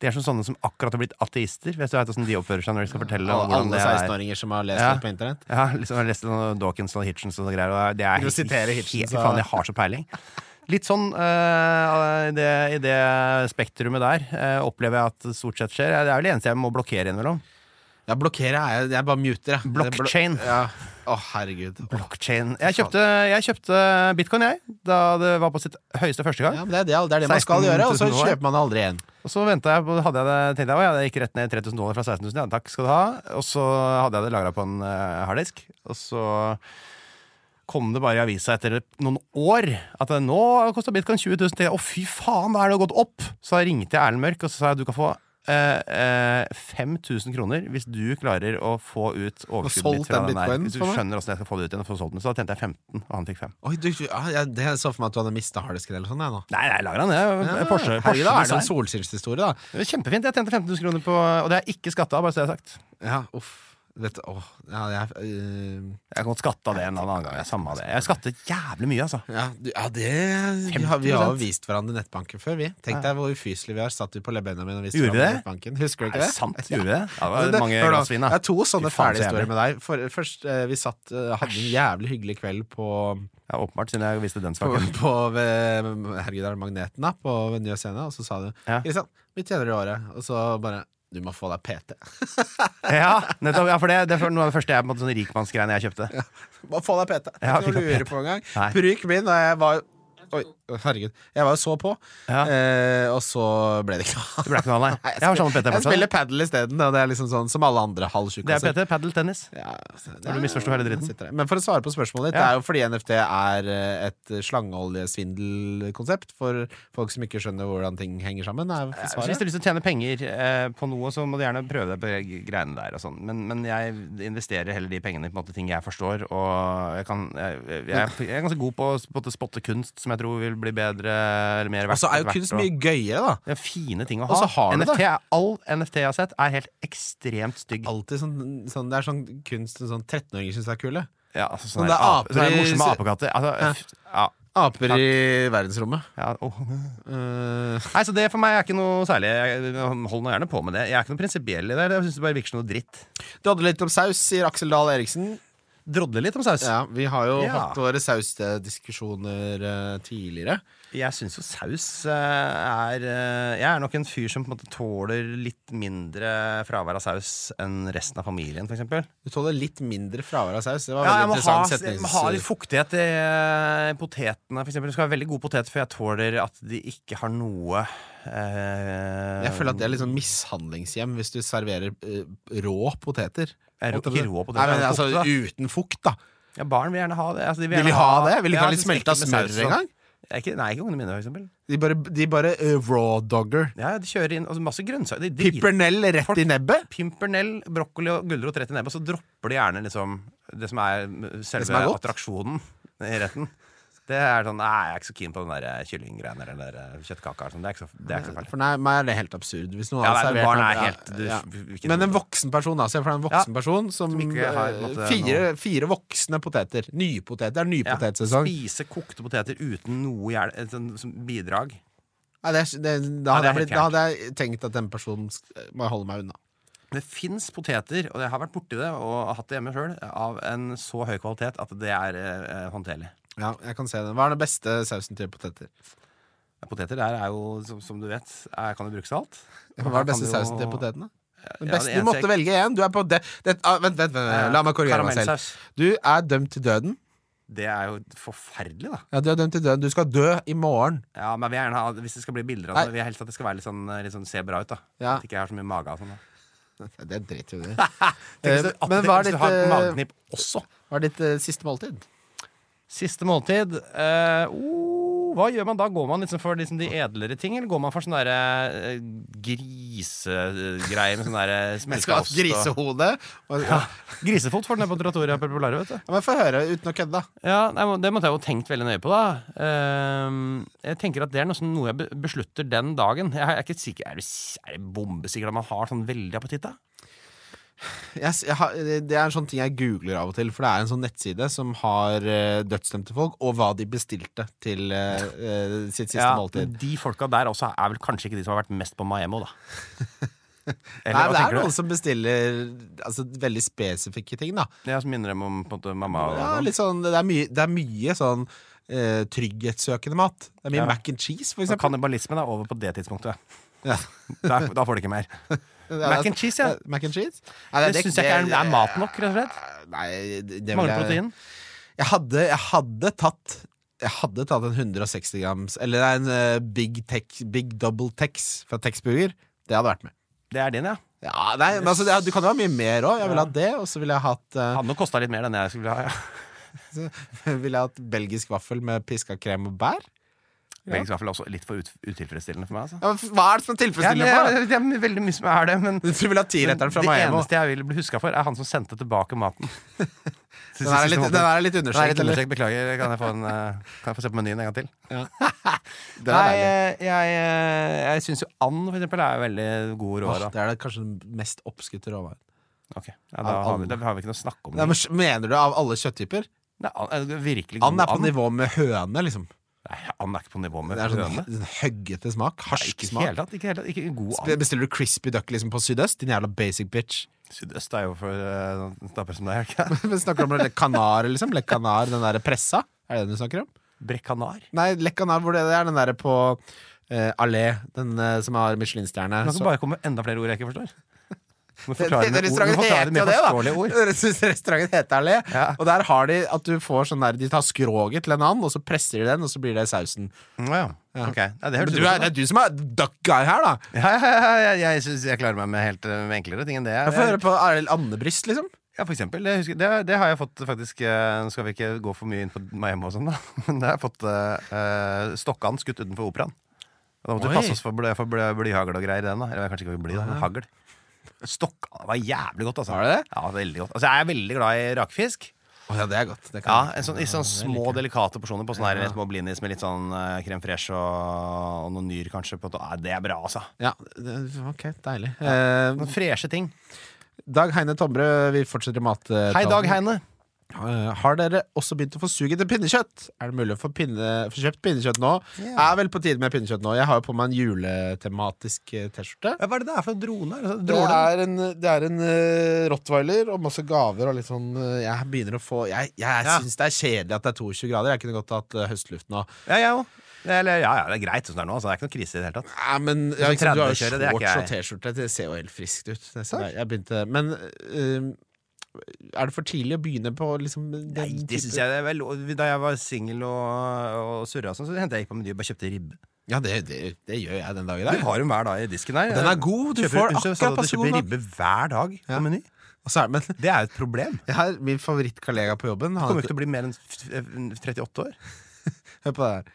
De er som sånne som akkurat har blitt ateister. Vet du hvordan de oppfører seg når de skal fortelle om hvordan Alle det er? 16-åringer som har lest Ja. det på internett? Ja, liksom, jeg har lest noen Dawkins og Hitchens og sånne greier. Og det er Du siterer Hitchens, helt- og- faen, jeg har så peiling. Litt sånn eh, i det, i det spektrumet der eh, opplever jeg at det stort sett skjer. Det er vel det eneste jeg må blokkere innimellom. Ja, blokkere er jeg. Jeg bare muter, jeg. Blockchain. Det blo- Ja. Å, herregud. Blockchain. Jeg kjøpte, jeg kjøpte bitcoin, jeg, da det var på sitt høyeste første gang. Ja, men det, er det, det er det man skal 16 000 gjøre, og så dollar. kjøper man det aldri igjen. Og så ventet jeg på, hadde jeg det, tenkte jeg, å ja, det gikk rett ned 3000 dollar fra 16 000, ja, takk skal du ha. Og så hadde jeg det lagra på en eh, harddisk, og så kom det bare i avisa etter noen år at det, nå kosta bitcoin 20 000. Tenkte jeg, å fy faen, da er det jo gått opp! Så da ringte jeg Erlend Mørk og så sa jeg, du kan få eh, eh, 5000 kroner hvis du klarer å få ut overskuddet solgt mitt fra den den der. bitcoinen Hvis du for meg? skjønner åssen jeg skal få det ut igjen og få solgt den. Så da tjente jeg 15, og han fikk 5. Oi, du, ja, jeg, det så for meg at du hadde mista harddisken eller sånn. jeg, nå. Nei, nei, lager han det. Ja, herregud, Porsche, da er Porsche liksom det en design. solskinnshistorie, da. Det er Kjempefint. Jeg tjente 15 000 kroner på Og det er ikke skatta, bare så det er sagt. Ja, uff. Vet, åh, ja, jeg, øh, Jeg kan godt skatte av det en annen gang. Jeg, samme av det. jeg skattet jævlig mye, altså. ja, du- ja, det vi har, Vi har jo 50%. vist hverandre nettbanken før, vi. Tenk deg hvor ufyselige vi har. Satt vi på lebbena mine og viste Gjorde vi hverandre det? nettbanken. Husker du Er ikke det det? sant? Gjorde vi det? Ja, Men det var mange hør da, glass vin, Det da. er to sånne Fy faen, fæle så jævlig. historier med deg. For, først, eh, vi satt, eh, hadde en jævlig hyggelig kveld på, Ja, åpenbart, siden jeg visste den på, saken. [LAUGHS] på ved, Herregud, er det Magneten, da? På Njø Scene. Og så sa du Ja. Kristian, vi tjener i året. Og så bare Du må få deg PT. [LAUGHS] Ja, nettopp, ja, for det, det er noe av det første jeg, på en måte, sånn rikmannsgreiene jeg kjøpte. Du [LAUGHS] må få deg PT. Det Ja, er Ikke noe å fikk jeg lure på engang. Nei. Purykk min, og jeg var Oi, herregud. Jeg var jo så på, Ja. eh, og så ble det ikke noe. Det ble ikke noe av det. Jeg har samme PT Jeg fortsatt. spiller altså- padel isteden, og det er liksom sånn som alle andre halvtjukke. Det er PT, padel, tennis. Ja, så- Har du misforstått hele dritten? sitter der. Men for å svare på spørsmålet ditt, Ja. det er jo fordi NFT er eh, et slangeoljesvindelkonsept for folk som ikke skjønner hvordan ting henger sammen. Er Så hvis svaret. du har lyst til å tjene penger eh, på noe, så må du gjerne prøve deg på de greiene der. Og sånn. men, men jeg investerer heller de pengene i på en måte, ting jeg forstår. Og jeg, kan, jeg, jeg, jeg er ganske god på å spotte, spotte kunst som jeg tror vil bli bedre eller mer Og verdt. så Altså, er jo verdt, kunst og- mye gøyere, da. Det er fine ting å Og ha. så har du det. NFT, er- All NFT jeg har sett, er helt ekstremt stygg. Alltid sånn, sånn, det er sånn kunst sånn 13-åringer syns er kule. Ja, altså, sånne Men det er her ap- Sånn aper sånne her i- morsomme apekatter. Altså, f- ja, Aper i verdensrommet. ja, åh. Eh, Nei, så det for meg er ikke noe særlig. Jeg- Hold nå gjerne på med det. Jeg er ikke noe prinsipiell i det. Jeg syns det bare virker som noe dritt. du hadde litt om saus, sier Aksel Dahl Eriksen. Drodle litt om saus. Ja, vi har jo Ja. hatt våre sausdiskusjoner eh, tidligere. Jeg syns jo saus eh, er eh, Jeg er nok en fyr som på en måte tåler litt mindre fravær av saus enn resten av familien, f.eks. Du tåler litt mindre fravær av saus. Det var Ja, veldig jeg må ha, interessant jeg setnings- må ha litt fuktighet i eh, potetene, f.eks. Det skal være veldig god potet, for jeg tåler at de ikke har noe eh, Jeg føler at det er litt sånn mishandlingshjem hvis du serverer eh, rå poteter. Er det ikke rå poteter? Nei, men Er det altså kokte, da? Uten fukt, da. ja, Barn vil gjerne ha det. Altså, de Vil de gjerne ha det? Vil de ikke Ja, ha litt jeg synes smelta ikke med smør saus og sånn. engang? Jeg er Ikke, nei, ikke ungene mine, for eksempel. De bare, de bare eh, raw dogger. Ja, de kjører inn altså, masse grønnsaker. De driter Pippernell rett Folk- i nebbet? pimpernell, brokkoli og gulrot rett i nebbet, og så dropper de gjerne liksom det som er selve som er godt. attraksjonen i retten. Det er sånn, nei, Jeg er ikke så keen på den der kyllinggreia eller den der kjøttkaka. og Sånn. Det er ikke så, det er ikke så fælt. For nei, meg er det helt absurd. Hvis noen Ja, hadde nei, men servert barn noe- er helt du, ja. ikke Men en noe- voksen person, altså. For det er en voksen person som, Som ikke har, eh, på en måte, fire, fire voksne poteter. Nypoteter. Det er ja, nypotetsesong. Spise kokte poteter uten noe hjel, et sånn, som bidrag. Nei, det, er- det, da, Ja, det hadde jeg er helt blitt, da hadde jeg tenkt at den personen sk- må jeg holde meg unna. Det fins poteter, og jeg har vært borti det og hatt det hjemme sjøl, av en så høy kvalitet at det er eh, håndterlig. Ja, jeg kan se det. Hva er den beste sausen til poteter? Poteter der er jo, som, som du vet, er, kan jo brukes til alt. Hva er den Kan beste jo- sausen til potetene? Den beste, eneste du måtte jeg- velge én. Du er på det, det, ah, vent, vent, vent, vent, la meg korrigere meg selv. Karamellsaus. Du er dømt til døden. Det er jo forferdelig, da. Ja, du er dømt til døden. Du skal dø i morgen. [LAUGHS] Ja, men jeg vil gjerne ha, Hvis det skal bli bilder av det, vil jeg helst at det skal være litt sånn, litt sånn se bra ut. da Ja. At ikke jeg har så mye mage. og Sånn, da. Det driter jo du i. Tenk hvis du- Eh, at Men det- hva hvis er du ditt, har et eh, mageknip også. hva er ditt eh, siste måltid? Siste måltid. eh, oh, hva gjør man da? Går man liksom for liksom de edlere ting, eller går man for sånne derre eh, grisegreier med sånn derre [LAUGHS] Jeg skal ha smelteost et grisehode. Og, ja. Grisefot får du ned på Trattoria på Larøy, vet du. Men få høre, uten å kødde. da. Ja, nei, men Det måtte jeg jo tenkt veldig nøye på. da Ehm, Jeg tenker at Det er noe, som- noe jeg be- beslutter den dagen. Jeg er ikke sikker, er det, s- er det bombesikkert at man har sånn veldig appetitt? da? Jeg, s- jeg, har- det er en sånn ting jeg googler av og til, for det er en sånn nettside som har eh, dødsdømte folk, og hva de bestilte til eh, eh, sitt siste måltid. men De folka der også er vel kanskje ikke de som har vært mest på [LAUGHS] Maemmo, da. Eller, Nei, hva men det tenker er du? noen som bestiller altså, veldig spesifikke ting, da. Ja, som minner dem om på en måte, mamma og Ja, sånn. litt sånn, det, er mye, det er mye sånn eh, trygghetssøkende mat. Det er mye Ja. mac and cheese, for Så eksempel. Kannibalismen er over på det tidspunktet. Ja. [LAUGHS] Da, da får du ikke mer. Mac and cheese, ja. Eh, Mac and cheese? Nei, Det syns jeg ikke er, er mat nok, rett og slett. Nei, det, det vil Mangler protein. Jeg, jeg, hadde, jeg hadde tatt jeg hadde tatt en 160 grams Eller nei, en eh, Big, Tex, Big Double Tex fra Tex Burger. Det hadde vært med. Det er din, ja. Ja, nei, men altså, det, Du kan jo ha mye mer òg. Jeg ville hatt det, og så ville jeg hatt eh, Hadde nok kosta litt mer enn jeg skulle ha. Ja. [LAUGHS] Ville jeg hatt belgisk vaffel med piska krem og bær? Belgisk vaffel er også litt for ut, utilfredsstillende for meg. altså Ja, men Hva er det som er Ja, det, tilfredsstillende? for deg? er, det er veldig mye som er det, men Du vil ha tiretteren fra det Miami? eneste jeg vil bli huska for, er han som sendte tilbake [LAUGHS] maten. Den er litt, den er litt understreket. Nei, litt eller? understrekt, Beklager. Kan jeg, få en, eh, kan jeg få se på menyen en gang til? [LAUGHS] [LAUGHS] Den er deilig. jeg, eh, jeg syns jo and for eksempel, er jo veldig god Åh, råvare. det er det kanskje den mest oppskutte råvaren. Ok, ja, da, har vi, da har vi ikke noe å snakke om. Nei, men s- Mener du av alle kjøtttyper? Nei, an- er det virkelig god And er på nivå med høne, liksom. Nei, and er ikke på nivå med Det er sånn, høne. sånn høggete smak. Nei, Harsk Ikke i det hele smak. tatt. Ikke, i det hele tatt, ikke god Sp- and. Bestiller du crispy duck liksom på sydøst? Din jævla basic bitch. Sydøst er jo for uh, snapper som deg, er det ikke? [LAUGHS] Men snakker du om Le Canar, liksom? Le Canar, den der pressa? Er det den du snakker om? Brekkanar. Nei, Le Canar, hvor det det er den der på eh, Allé, den eh, som har Michelin-stjerne. Man Så- kan bare komme med enda flere ord jeg ikke [LAUGHS] forstår. Du må Den- den forklare med ord. Du Restauranten må forklare heter jo det med det, forståelige ord. da! Rest- Restauranten heter Allé. Ja. Og der har de at du får sånn der De tar skroget til en and, og så presser de den, og så blir det sausen. Ja, ja. Ok, ja, det Men hørtes du er, det godt ut, da. er du som er duck guy her, da! Ja, ja, ja, ja, jeg syns jeg klarer meg med helt eh, med enklere ting enn det. Jeg får høre på Arild Andebryst, liksom. Ja, for eksempel. Det, husker, det, det har jeg fått faktisk eh, Nå skal vi ikke gå for mye inn på Miami og sånn, da. [LAUGHS] Men det har jeg fått eh, eh, Stokkan skutt utenfor operaen. Og Da måtte Oi. Ah. vi passe oss for, bly, for bly, blyhagl og greier i den, da. Eller kanskje ikke bly, da, men hagl. Stokkan det var jævlig godt, altså. Var det det? Ja, veldig godt. Altså, jeg er veldig glad i rakfisk. Å ja, det er godt. Det kan Ja, jeg like. en sånn, I sånn små, delikate porsjoner på sånne her små blinis med litt sånn uh, crème fraîche og, og noen nyr, kanskje. På to- ja, det er bra, altså. Ja, det- ok, deilig. Eh, Noen freshe ting. Dag Heine Tomre, vi fortsetter i mat... Hei, Dag Heine. Eh, har dere også begynt å få sug etter pinnekjøtt? Er det mulig å få, pinne, få kjøpt pinnekjøtt nå? Ja. Er vel på tide med pinnekjøtt nå. Jeg har jo på meg en juletematisk eh, T-skjorte. Hva er det det er for Altså, en drone? Det er en, det er en eh, rottweiler og masse gaver og litt sånn eh, Jeg begynner å få Jeg, jeg Ja. syns det er kjedelig at det er 22 grader. Jeg kunne godt hatt eh, høstluft nå. Ja, jeg òg. Eller, ja, ja, det er greit sånn det er nå. Altså, det er ikke noe krise i det hele tatt. Nei, men ja, Sånn ikke sant, Du har jo 30-kjøret, det er ikke shorts og jeg. T-skjorte. Det ser jo helt friskt ut. Det er sånn der, jeg begynte, men eh, er det for tidlig å begynne på liksom den Nei, det type- synes jeg det er vel, Da jeg var singel og, og surra, og sånn, så hentet jeg ikke på Meny og bare kjøpte ribbe. Ja, det, det, det gjør jeg den dag i Du dag. har hun hver dag i disken her. Og den er god, du Kjøper- får Unnskyld, akkurat sa du at passe Du god kjøper nok. ribbe hver dag på Meny. Og så er, men Det er jo et problem. jeg har min favorittkollega på jobben Du han, kommer jo ikke til å bli mer enn f- f- 38 år. Hør på det her.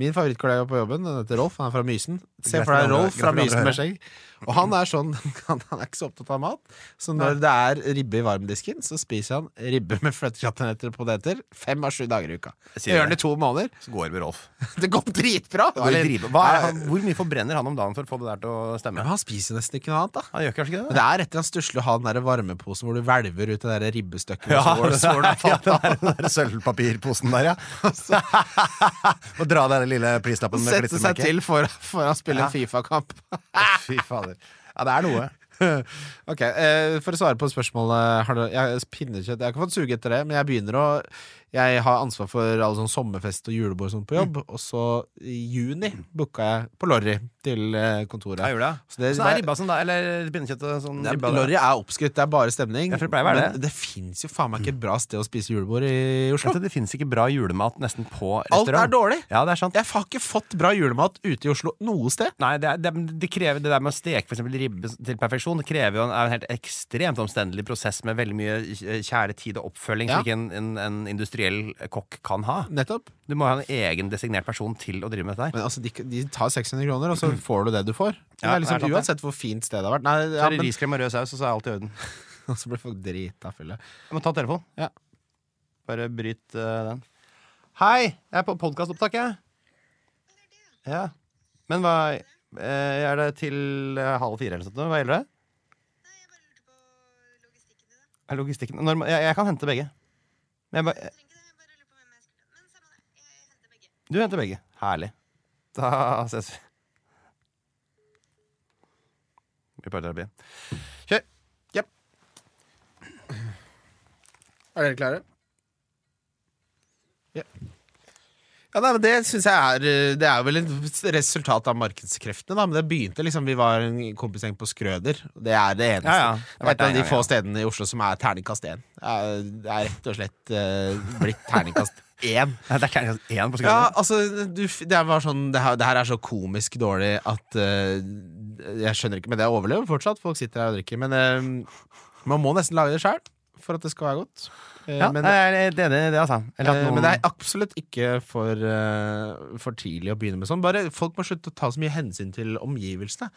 Min favorittkollega på jobben han heter Rolf. Han er fra Mysen. Se Greit for for deg andre- Rolf fra greit for andre Mysen å med skjegg. Og han er sånn [LAUGHS] Han, han er ikke så opptatt av mat. Så når det er ribbe i varmdisken, så spiser han ribbe med fløtekattenetter og poteter fem av sju dager i uka. Jeg Det sier gjør han det. i to måneder. Så går det med Rolf. Det går dritbra! Går i Eller- drive. Hva er, han, hvor mye forbrenner han om dagen for å få det der til å Men stemme? han spiser nesten ikke noe annet, da. Han gjør kanskje ikke Men det? det er et eller annet stusslig å ha den der varmeposen hvor du hvelver ut det der ribbestykket. [LAUGHS] Ja, hvor det svoren [LAUGHS] har falt av. er den der sølvpapirposen der, ja. [LAUGHS] Og dra den lille prislappen med Sette seg klistremerke. til for, for å spille en Fifa-kamp. Fy fader. Ja, det er noe. [LAUGHS] ok, eh, For å svare på spørsmålet har du, jeg, Pinnekjøtt Jeg har ikke fått suge etter det, men jeg begynner å Jeg har ansvar for alle sånn sommerfest og julebord og sånt på Mm. jobb. Og så i juni booka jeg på Lorry til eh, kontoret. Ja, gjorde jeg. Så det, Sånn er ribba sånn da, eller pinnekjøttet sånn det er- ribba da. Lorry er oppskrytt, det er bare stemning. Ja, for det Mm. pleier å være men det fins jo faen meg ikke et bra sted å spise julebord i Oslo. Vet du, Det fins ikke bra julemat nesten på Alt restaurant. er dårlig. Ja, det er sant. Jeg har ikke fått bra julemat ute i Oslo noe sted. Nei, det, er, det, er- det krever det der med å steke for eksempel ribbe til perfeksjon. Det krever jo en, er en helt ekstremt omstendelig prosess med veldig mye eh, kjære tid og oppfølging Ja. som ikke en, en, en industriell kokk kan ha. Nettopp. Du må ha en egen designert person til å drive med dette her. Men altså, de, de tar 600 kroner, og så får du det du får. Så Mm. det Ja, er det er liksom sant, det. Uansett hvor fint stedet har vært. Nei, Så ja, er det men, riskrem og rød saus, og så er alt i orden. [LAUGHS] og så blir folk drita fulle. Jeg må ta telefonen. Ja. Bare bryt eh, den. Hei! Jeg er på podkastopptak, jeg. Ja. Men hva eh, Er det til eh, halv fire eller noe sånt? nå? Hva gjelder det? Er logistikken Når, må- jeg, jeg kan hente begge. Men jeg bare, du henter begge. Herlig. Da ses vi. Vi er på parterapi. Kjør! Er dere klare? Ja. Ja, nei, men Det synes jeg er eh, Det er vel et resultat av markedskreftene. Da. Men det begynte liksom Vi var en kompisgjeng på Skrøder. og Det er det eneste. Ja, ja. Det er et av de Ja, ja. få stedene i Oslo som er terningkast én. Det er- det er rett og slett eh, blitt terningkast [LAUGHS] én. Nei, Det er terningkast én Ja, på skalaen. altså, du, f- det, var sånn, det, her, det her er så komisk dårlig at eh, Jeg skjønner ikke, men det overlever fortsatt. Folk sitter her og drikker. Men eh, man må nesten lage det sjøl for at det skal være godt. Eh, Ja, men, nei, jeg er helt enig i det, altså. Eller at eh, noen- men det er absolutt ikke for, eh, for tidlig å begynne med sånn. Bare Folk må slutte å ta så mye hensyn til omgivelsene.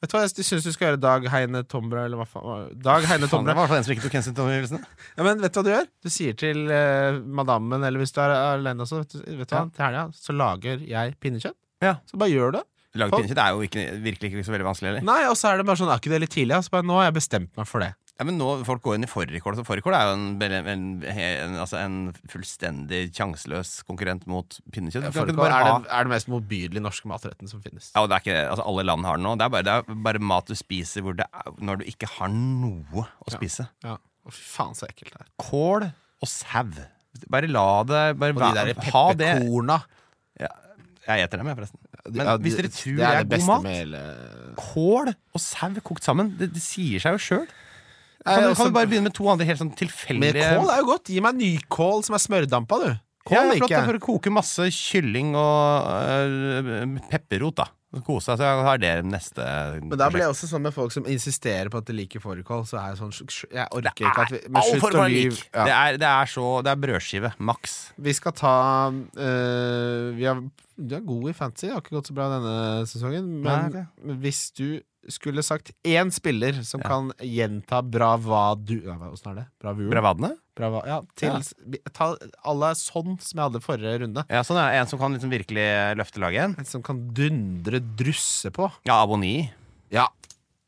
Vet du hva jeg syns du skal gjøre, Dag Heine Tombra? Eller hva faen? Dag Heine Faen, det Tombra. var i hvert fall en som ikke tok hensyn til omgivelsene. Ja, men vet du hva du gjør? Du sier til eh, madammen, eller hvis du er alene også, vet du, vet du hva, Ja. til helga så lager jeg pinnekjøtt. Ja. Så bare gjør du det. Lage pinnekjøtt er jo ikke, virkelig ikke så veldig vanskelig heller. Nei, og så er det bare sånn, er ikke det litt tidlig? ja?» Så bare, nå har jeg bestemt meg for det. Ja, men nå, Folk går inn i fårikål. så Fårikål er jo en, bele- en, en, altså en fullstendig sjanseløs konkurrent mot pinnekjøtt. Du kan ikke Fårikål bare er, ha- den- er den mest motbydelige norske matretten som finnes. Ja, og det er ikke, altså Alle land har det nå. Det er bare, det er bare mat du spiser hvor det er, når du ikke har noe å spise. Ja. Å, Fy faen, så ekkelt det er. Kål og sau. Bare la det bare Og de være- der ha det. pepperkorna. Ja, jeg eter dem, jeg, forresten. Men Ja, hvis dere det- det tror det er er, det beste god mat med hele Kål og sau kokt sammen, det, det sier seg jo sjøl. Nei, Kan, du- altså- kan vi bare begynne med to andre helt sånn Men tilfeldige kål er jo godt. Gi meg nykål som er smørdampa, du. Kål ja, flott, liker da, jeg. for å koke masse kylling og øh, pepperrot, da. Og Kose deg, så har det neste Men da blir jeg også sånn med folk som insisterer på at de liker fårikål. Så er jeg sånn Jeg orker Det ikke at vi er Men all slutt form å av lik. lyve. Det, Ja. er, det er så Det er brødskive. Maks. Vi skal ta øh, Vi er, du er god i fantasy. Det har ikke gått så bra denne sesongen. Men Nei, ok. men hvis du skulle sagt én spiller som Ja. kan gjenta bravadu Nei, hva- åssen er det? Bravuren? Bravadene? Brava, ja, til, Ta alle sånn som jeg hadde forrige runde. Ja, sånn er det. En som kan liksom virkelig løfte laget igjen. En som kan dundre drusse på. Ja, Aboni. Ja.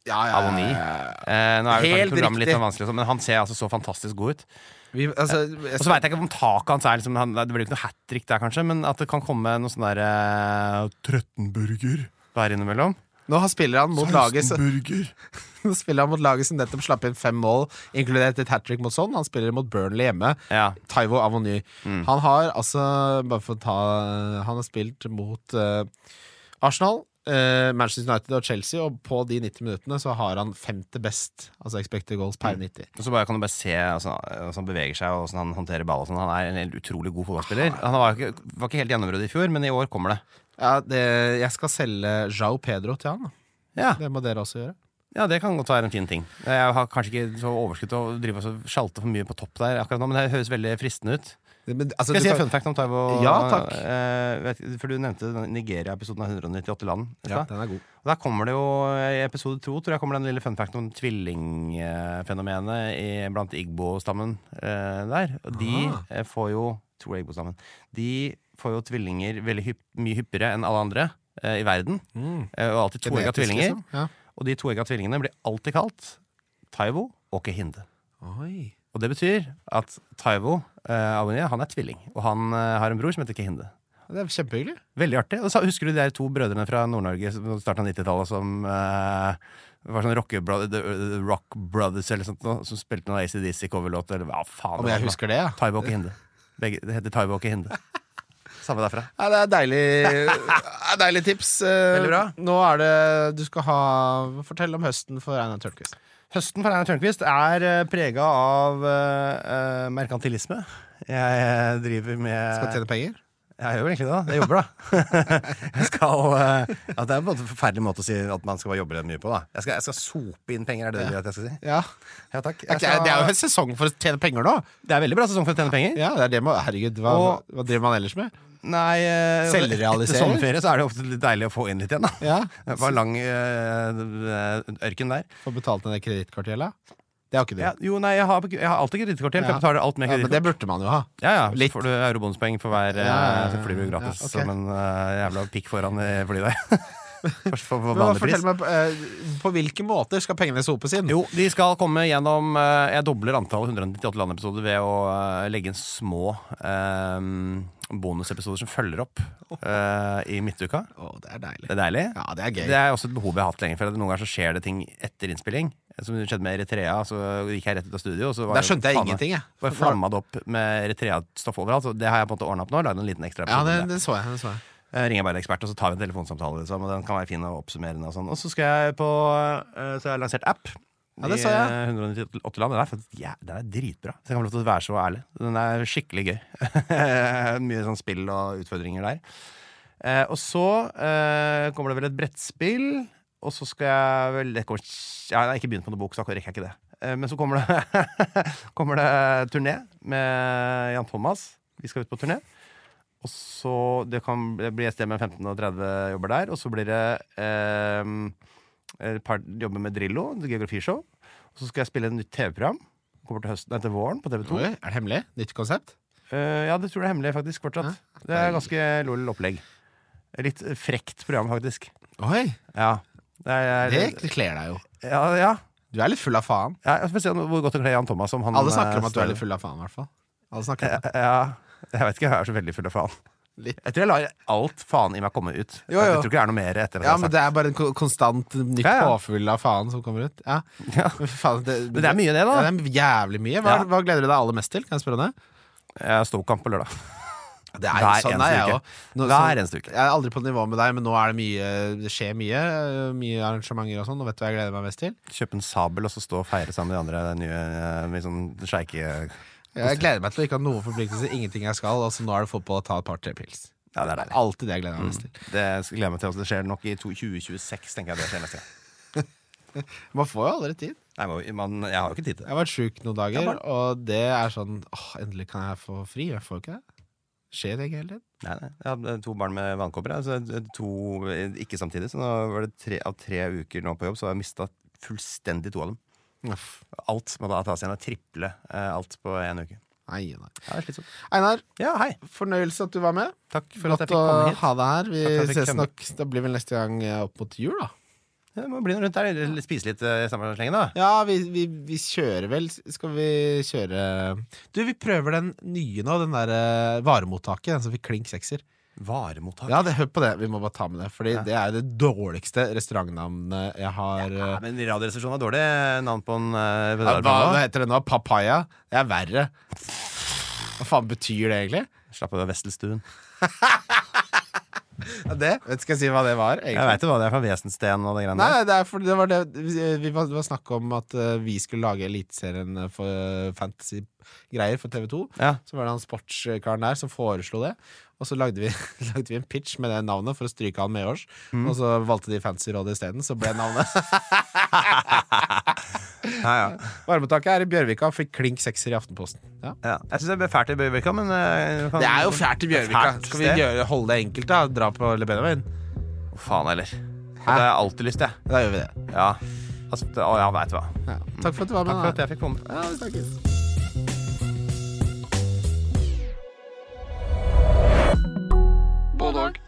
Ja, ja, Aboni. ja, ja. Eh, nå er jo Helt kanskje programmet litt riktig. sånn vanskelig, og sånn, men han ser altså så fantastisk god ut. Vi, altså, jeg Og så veit jeg ikke om taket hans er liksom han, Det blir jo ikke noe hat trick der, kanskje, men at det kan komme noe sånn derre eh, 13 burger der innimellom. Nå har- spiller han mot laget som- burger. [LAUGHS] Nå spiller han mot laget som nettopp slapp inn fem mål, inkludert et hat trick mot Son. Han spiller mot Burnley hjemme. Ja. Taivo Avony. Han har altså Bare for å ta Han har spilt mot eh, Arsenal, eh, Manchester United og Chelsea, og på de 90 minuttene så har han femte best, altså expected goals per 90. Og så bare, kan du bare se altså, hvordan han beveger seg og hvordan han håndterer ball. Og sånn. han er en helt utrolig god fotballspiller. Han var ikke, var ikke helt gjennombruddet i fjor, men i år kommer det. Ja, det, jeg skal selge Jao Pedro til han. da. Ja, Det må dere også gjøre. ja, det kan godt være en fin ting. Jeg har kanskje ikke så overskudd til å drive og så sjalte for mye på topp der akkurat nå, men det høres veldig fristende ut. Men, altså, Skal jeg du si kan- en fun fact om Taiwo? Ja, takk. Eh, vet, for du nevnte den Nigeria-episoden av 198 land. i ja, stad. den er god. Og Der kommer det jo, eh, I episode to tror jeg kommer den lille fun facten om tvillingfenomenet i- blant Igbo-stammen eh, der. Og de Ah. eh, får jo tror jeg Igbo-stammen De får jo tvillinger veldig hypp, mye hyppigere enn alle andre eh, i verden. Eh, og alltid toegga Mm, Genetisk, tvillinger. liksom. Ja. Og de toegga tvillingene blir alltid kalt Taivo og Kehinde. Oi. Og det betyr at Taivo eh, Awoniyi, han er tvilling, og han eh, har en bror som heter Kehinde. Det er kjempehyggelig. Veldig artig. Og så husker du de der to brødrene fra Nord-Norge som- på starten av 90-tallet som eh, var sånn rock, rock Brothers eller sånt, noe, som spilte noen ACDC-coverlåter eller hva faen. Om jeg husker det, ja. Taibo og Hinde. Begge, det heter Taibo [LAUGHS] og Hinde. Samme derfra. Ja, det er [LAUGHS] deilig, ja, deilig tips. Eh, Veldig bra. Nå er det du skal ha Fortell om høsten for Einar Tørnquist. Høsten for Einar Tørnquist er prega av eh, eh, merkantilisme. Jeg eh, driver med Skal tjene penger. Jeg gjør vel egentlig det. da. Jeg jobber, da. [LAUGHS] Jeg skal, eh, ja, det er på en måte en forferdelig måte å si at man skal bare jobbe mye på. da Jeg skal, jeg skal sope inn penger, er det det du vil at jeg skal si? Ja. Ja, takk. Det er, Jeg ikke- det er jo skal, en sesong for å tjene penger nå. det er veldig bra sesong for å tjene penger. Ja, det er det man, herregud, hva, Og- hva driver man ellers med? Nei, eh, Selvrealisering. Etter sommerferie så er det ofte litt deilig å få inn litt igjen. da Ja, Det var en lang eh, ørken der. Får betalt ned kredittkortgjelda. Det er jo ikke Ja, det. jo, nei, jeg har, jeg har alltid kredittkort igjen, for Ja. jeg betaler alt med Ja, men det kredittkort. burde man jo ha. Ja, ja, så litt. får du eurobonuspoeng for hver eh, Ja, ja, ja. Så flyr du gratis Ja, ok. som en eh, jævla pikk foran i flyet der. [LAUGHS] For, for, for Men, vanlig pris. fortell meg, eh, på hvilke måter skal pengene sopes inn? Jo, de skal komme gjennom eh, Jeg dobler antallet 198 landepisoder ved å eh, legge inn små eh, bonusepisoder som følger opp eh, i midtuka. Å, det er Det deilig. er deilig. Ja, det er gøy. Det er også et behov jeg har hatt lenge. For at Noen ganger så skjer det ting etter innspilling. Som det skjedde med Eritrea. Så gikk jeg rett ut av studio. Og så var Der skjønte jeg flamme- ingenting, jeg. Var flamma det opp med Eritrea-stoff overalt. Så det har jeg på en måte ordna opp nå. Lagd en liten ekstra Ja, episode om det, det. det så jeg. Det så jeg. Jeg Eh, ringer bare en ekspert, og så tar vi en telefonsamtale. Liksom, og den kan være fin og oppsummerende. Og, sånn. og så skal jeg på eh, Så jeg har lansert app. Ja, det sa jeg. I, eh, 198 land. Den er, faktisk- ja, den er dritbra. Så jeg kan få lov til å være så ærlig. Den er skikkelig gøy. [LAUGHS] Mye sånn spill og utfordringer der. Eh, og så eh, kommer det vel et brettspill. Og så skal jeg vel det kommer, ja, Jeg har ikke begynt på noe bok, så akkurat rekker jeg ikke det. Eh, men så kommer det, [LAUGHS] kommer det turné med Jan Thomas. Vi skal ut på turné. Og så Det kan det blir et sted med 15 og 30 jobber der. Og så blir det eh, et par jobber med Drillo, et geografishow. Og så skal jeg spille et nytt TV-program. Kommer til høsten, nei, til våren på TV2. Oi, er det hemmelig? Nytt konsept? Eh, ja, det tror jeg er hemmelig, faktisk. Fortsatt. Det er ganske lol opplegg. Litt frekt program, faktisk. Oi, Ja. Det er, eh, det kler deg jo. ja, ja. Du er litt full av faen. Ja, jeg får se hvor godt det kler Jan Thomas om han Alle snakker om eh, at du er står- litt full av faen, i hvert fall. Alle snakker om det. Ja, jeg vet ikke, jeg er så veldig full av faen. Litt. Jeg tror jeg lar alt faen i meg komme ut. Jo, Jeg jo. tror ikke det er noe mer etter at Ja, jeg men har det er bare en ko- konstant nytt altså. Ja, ja. påfyll av faen som kommer ut. Ja. [LAUGHS] Ja. Men fy faen, det, Men det er mye det, da. Ja, det er jævlig mye. Hva, Ja. hva gleder du deg aller mest til? Kan jeg spørre om det? sagt Jeg har Ståkamp på lørdag. Det er Hver sånn eneste er jeg uke. også. Nå- Hver sånn- eneste uke. Jeg er aldri på nivå med deg, men nå er det mye Det skjer mye. øh, Mye arrangementer og sånn. Nå vet du hva jeg gleder meg mest til? Kjøpe en sabel og så stå og feire sammen med de andre nye, eh, med sånn sjeike Ja, Jeg gleder meg til å ikke ha noen forpliktelser, ingenting jeg skal. Altså Nå er det fotball og ta et par-tre pils. det er Det er deilig. alltid det jeg gleder meg mest til. Det gleder jeg meg til. Også. Det skjer nok i to- 2026, tenker jeg det skjer neste gang. Man får jo aldri tid. Nei, men man, jeg har jo ikke tid til Jeg det. har vært sjuk noen dager, Ja, bare- og det er sånn åh, Endelig kan jeg få fri. Jeg får jo ikke det. Skjer det ikke hele tiden? Nei, nei. Jeg hadde to barn med vannkopper. Altså to eh, ikke samtidig. Så nå var det tre, av tre uker nå på jobb, så har jeg mista fullstendig to av dem. Alt må da tas igjen. og Triple eh, alt på én uke. Nei, nei. Ja, det er slitsomt. Einar, Ja, hei. fornøyelse at du var med. Takk for at Flott å jeg fikk komme hit. ha deg her. Vi Takk for at jeg fikk ses komme. nok. Det blir vel neste gang eh, opp mot jul, da. Det må bli noe rundt der. Eller Spise litt eh, i samme slengen, da. Ja, vi, vi, vi kjører vel Skal vi kjøre Du, vi prøver den nye nå, den der eh, varemottaket, den som fikk klink sekser. Varemottak. Ja, det, hør på det, vi må bare ta med det, Fordi det er det dårligste restaurantnavnet jeg har. eh, men Radioresepsjonen har dårlig navn på en eh, Ja, på hva, hva radiokanal. heter det nå? Papaya? Det er verre. Hva faen betyr det egentlig? Slapp av, det er Vestelstuen. Ja, Det, vet, skal jeg si hva det var? Jeg egentlig? veit jo hva det er fra Wesensten og det greiene Nei, der. nei, det er fordi det var det vi- vi var, Det var snakk om at eh, vi skulle lage Eliteserien eh, for eh, fantasy-greier for TV2. Ja. Så var det han sportskaren der som foreslo det. Og så lagde vi, [LAUGHS] lagde vi en pitch med det navnet for å stryke han medårs. Og så valgte de Fantasyrådet isteden, så ble navnet [LAUGHS] Ja, ja. Varmetaket er i Bjørvika og fikk klink sekser i Aftenposten. Ja. Ja. Jeg syns det er fælt i Bjørvika, men eh, kan- Det er jo fælt i Bjørvika. Fælt Skal vi sted. gjøre, holde det enkelt, da? Dra på Le Benjamin? Faen heller. Det har jeg alltid lyst til. Da gjør vi det. Ja. Altså, det- å, ja, veit du hva. Ja. Takk for at du var med. Takk for at da. jeg fikk komme. Ja, vi snakkes. Både og.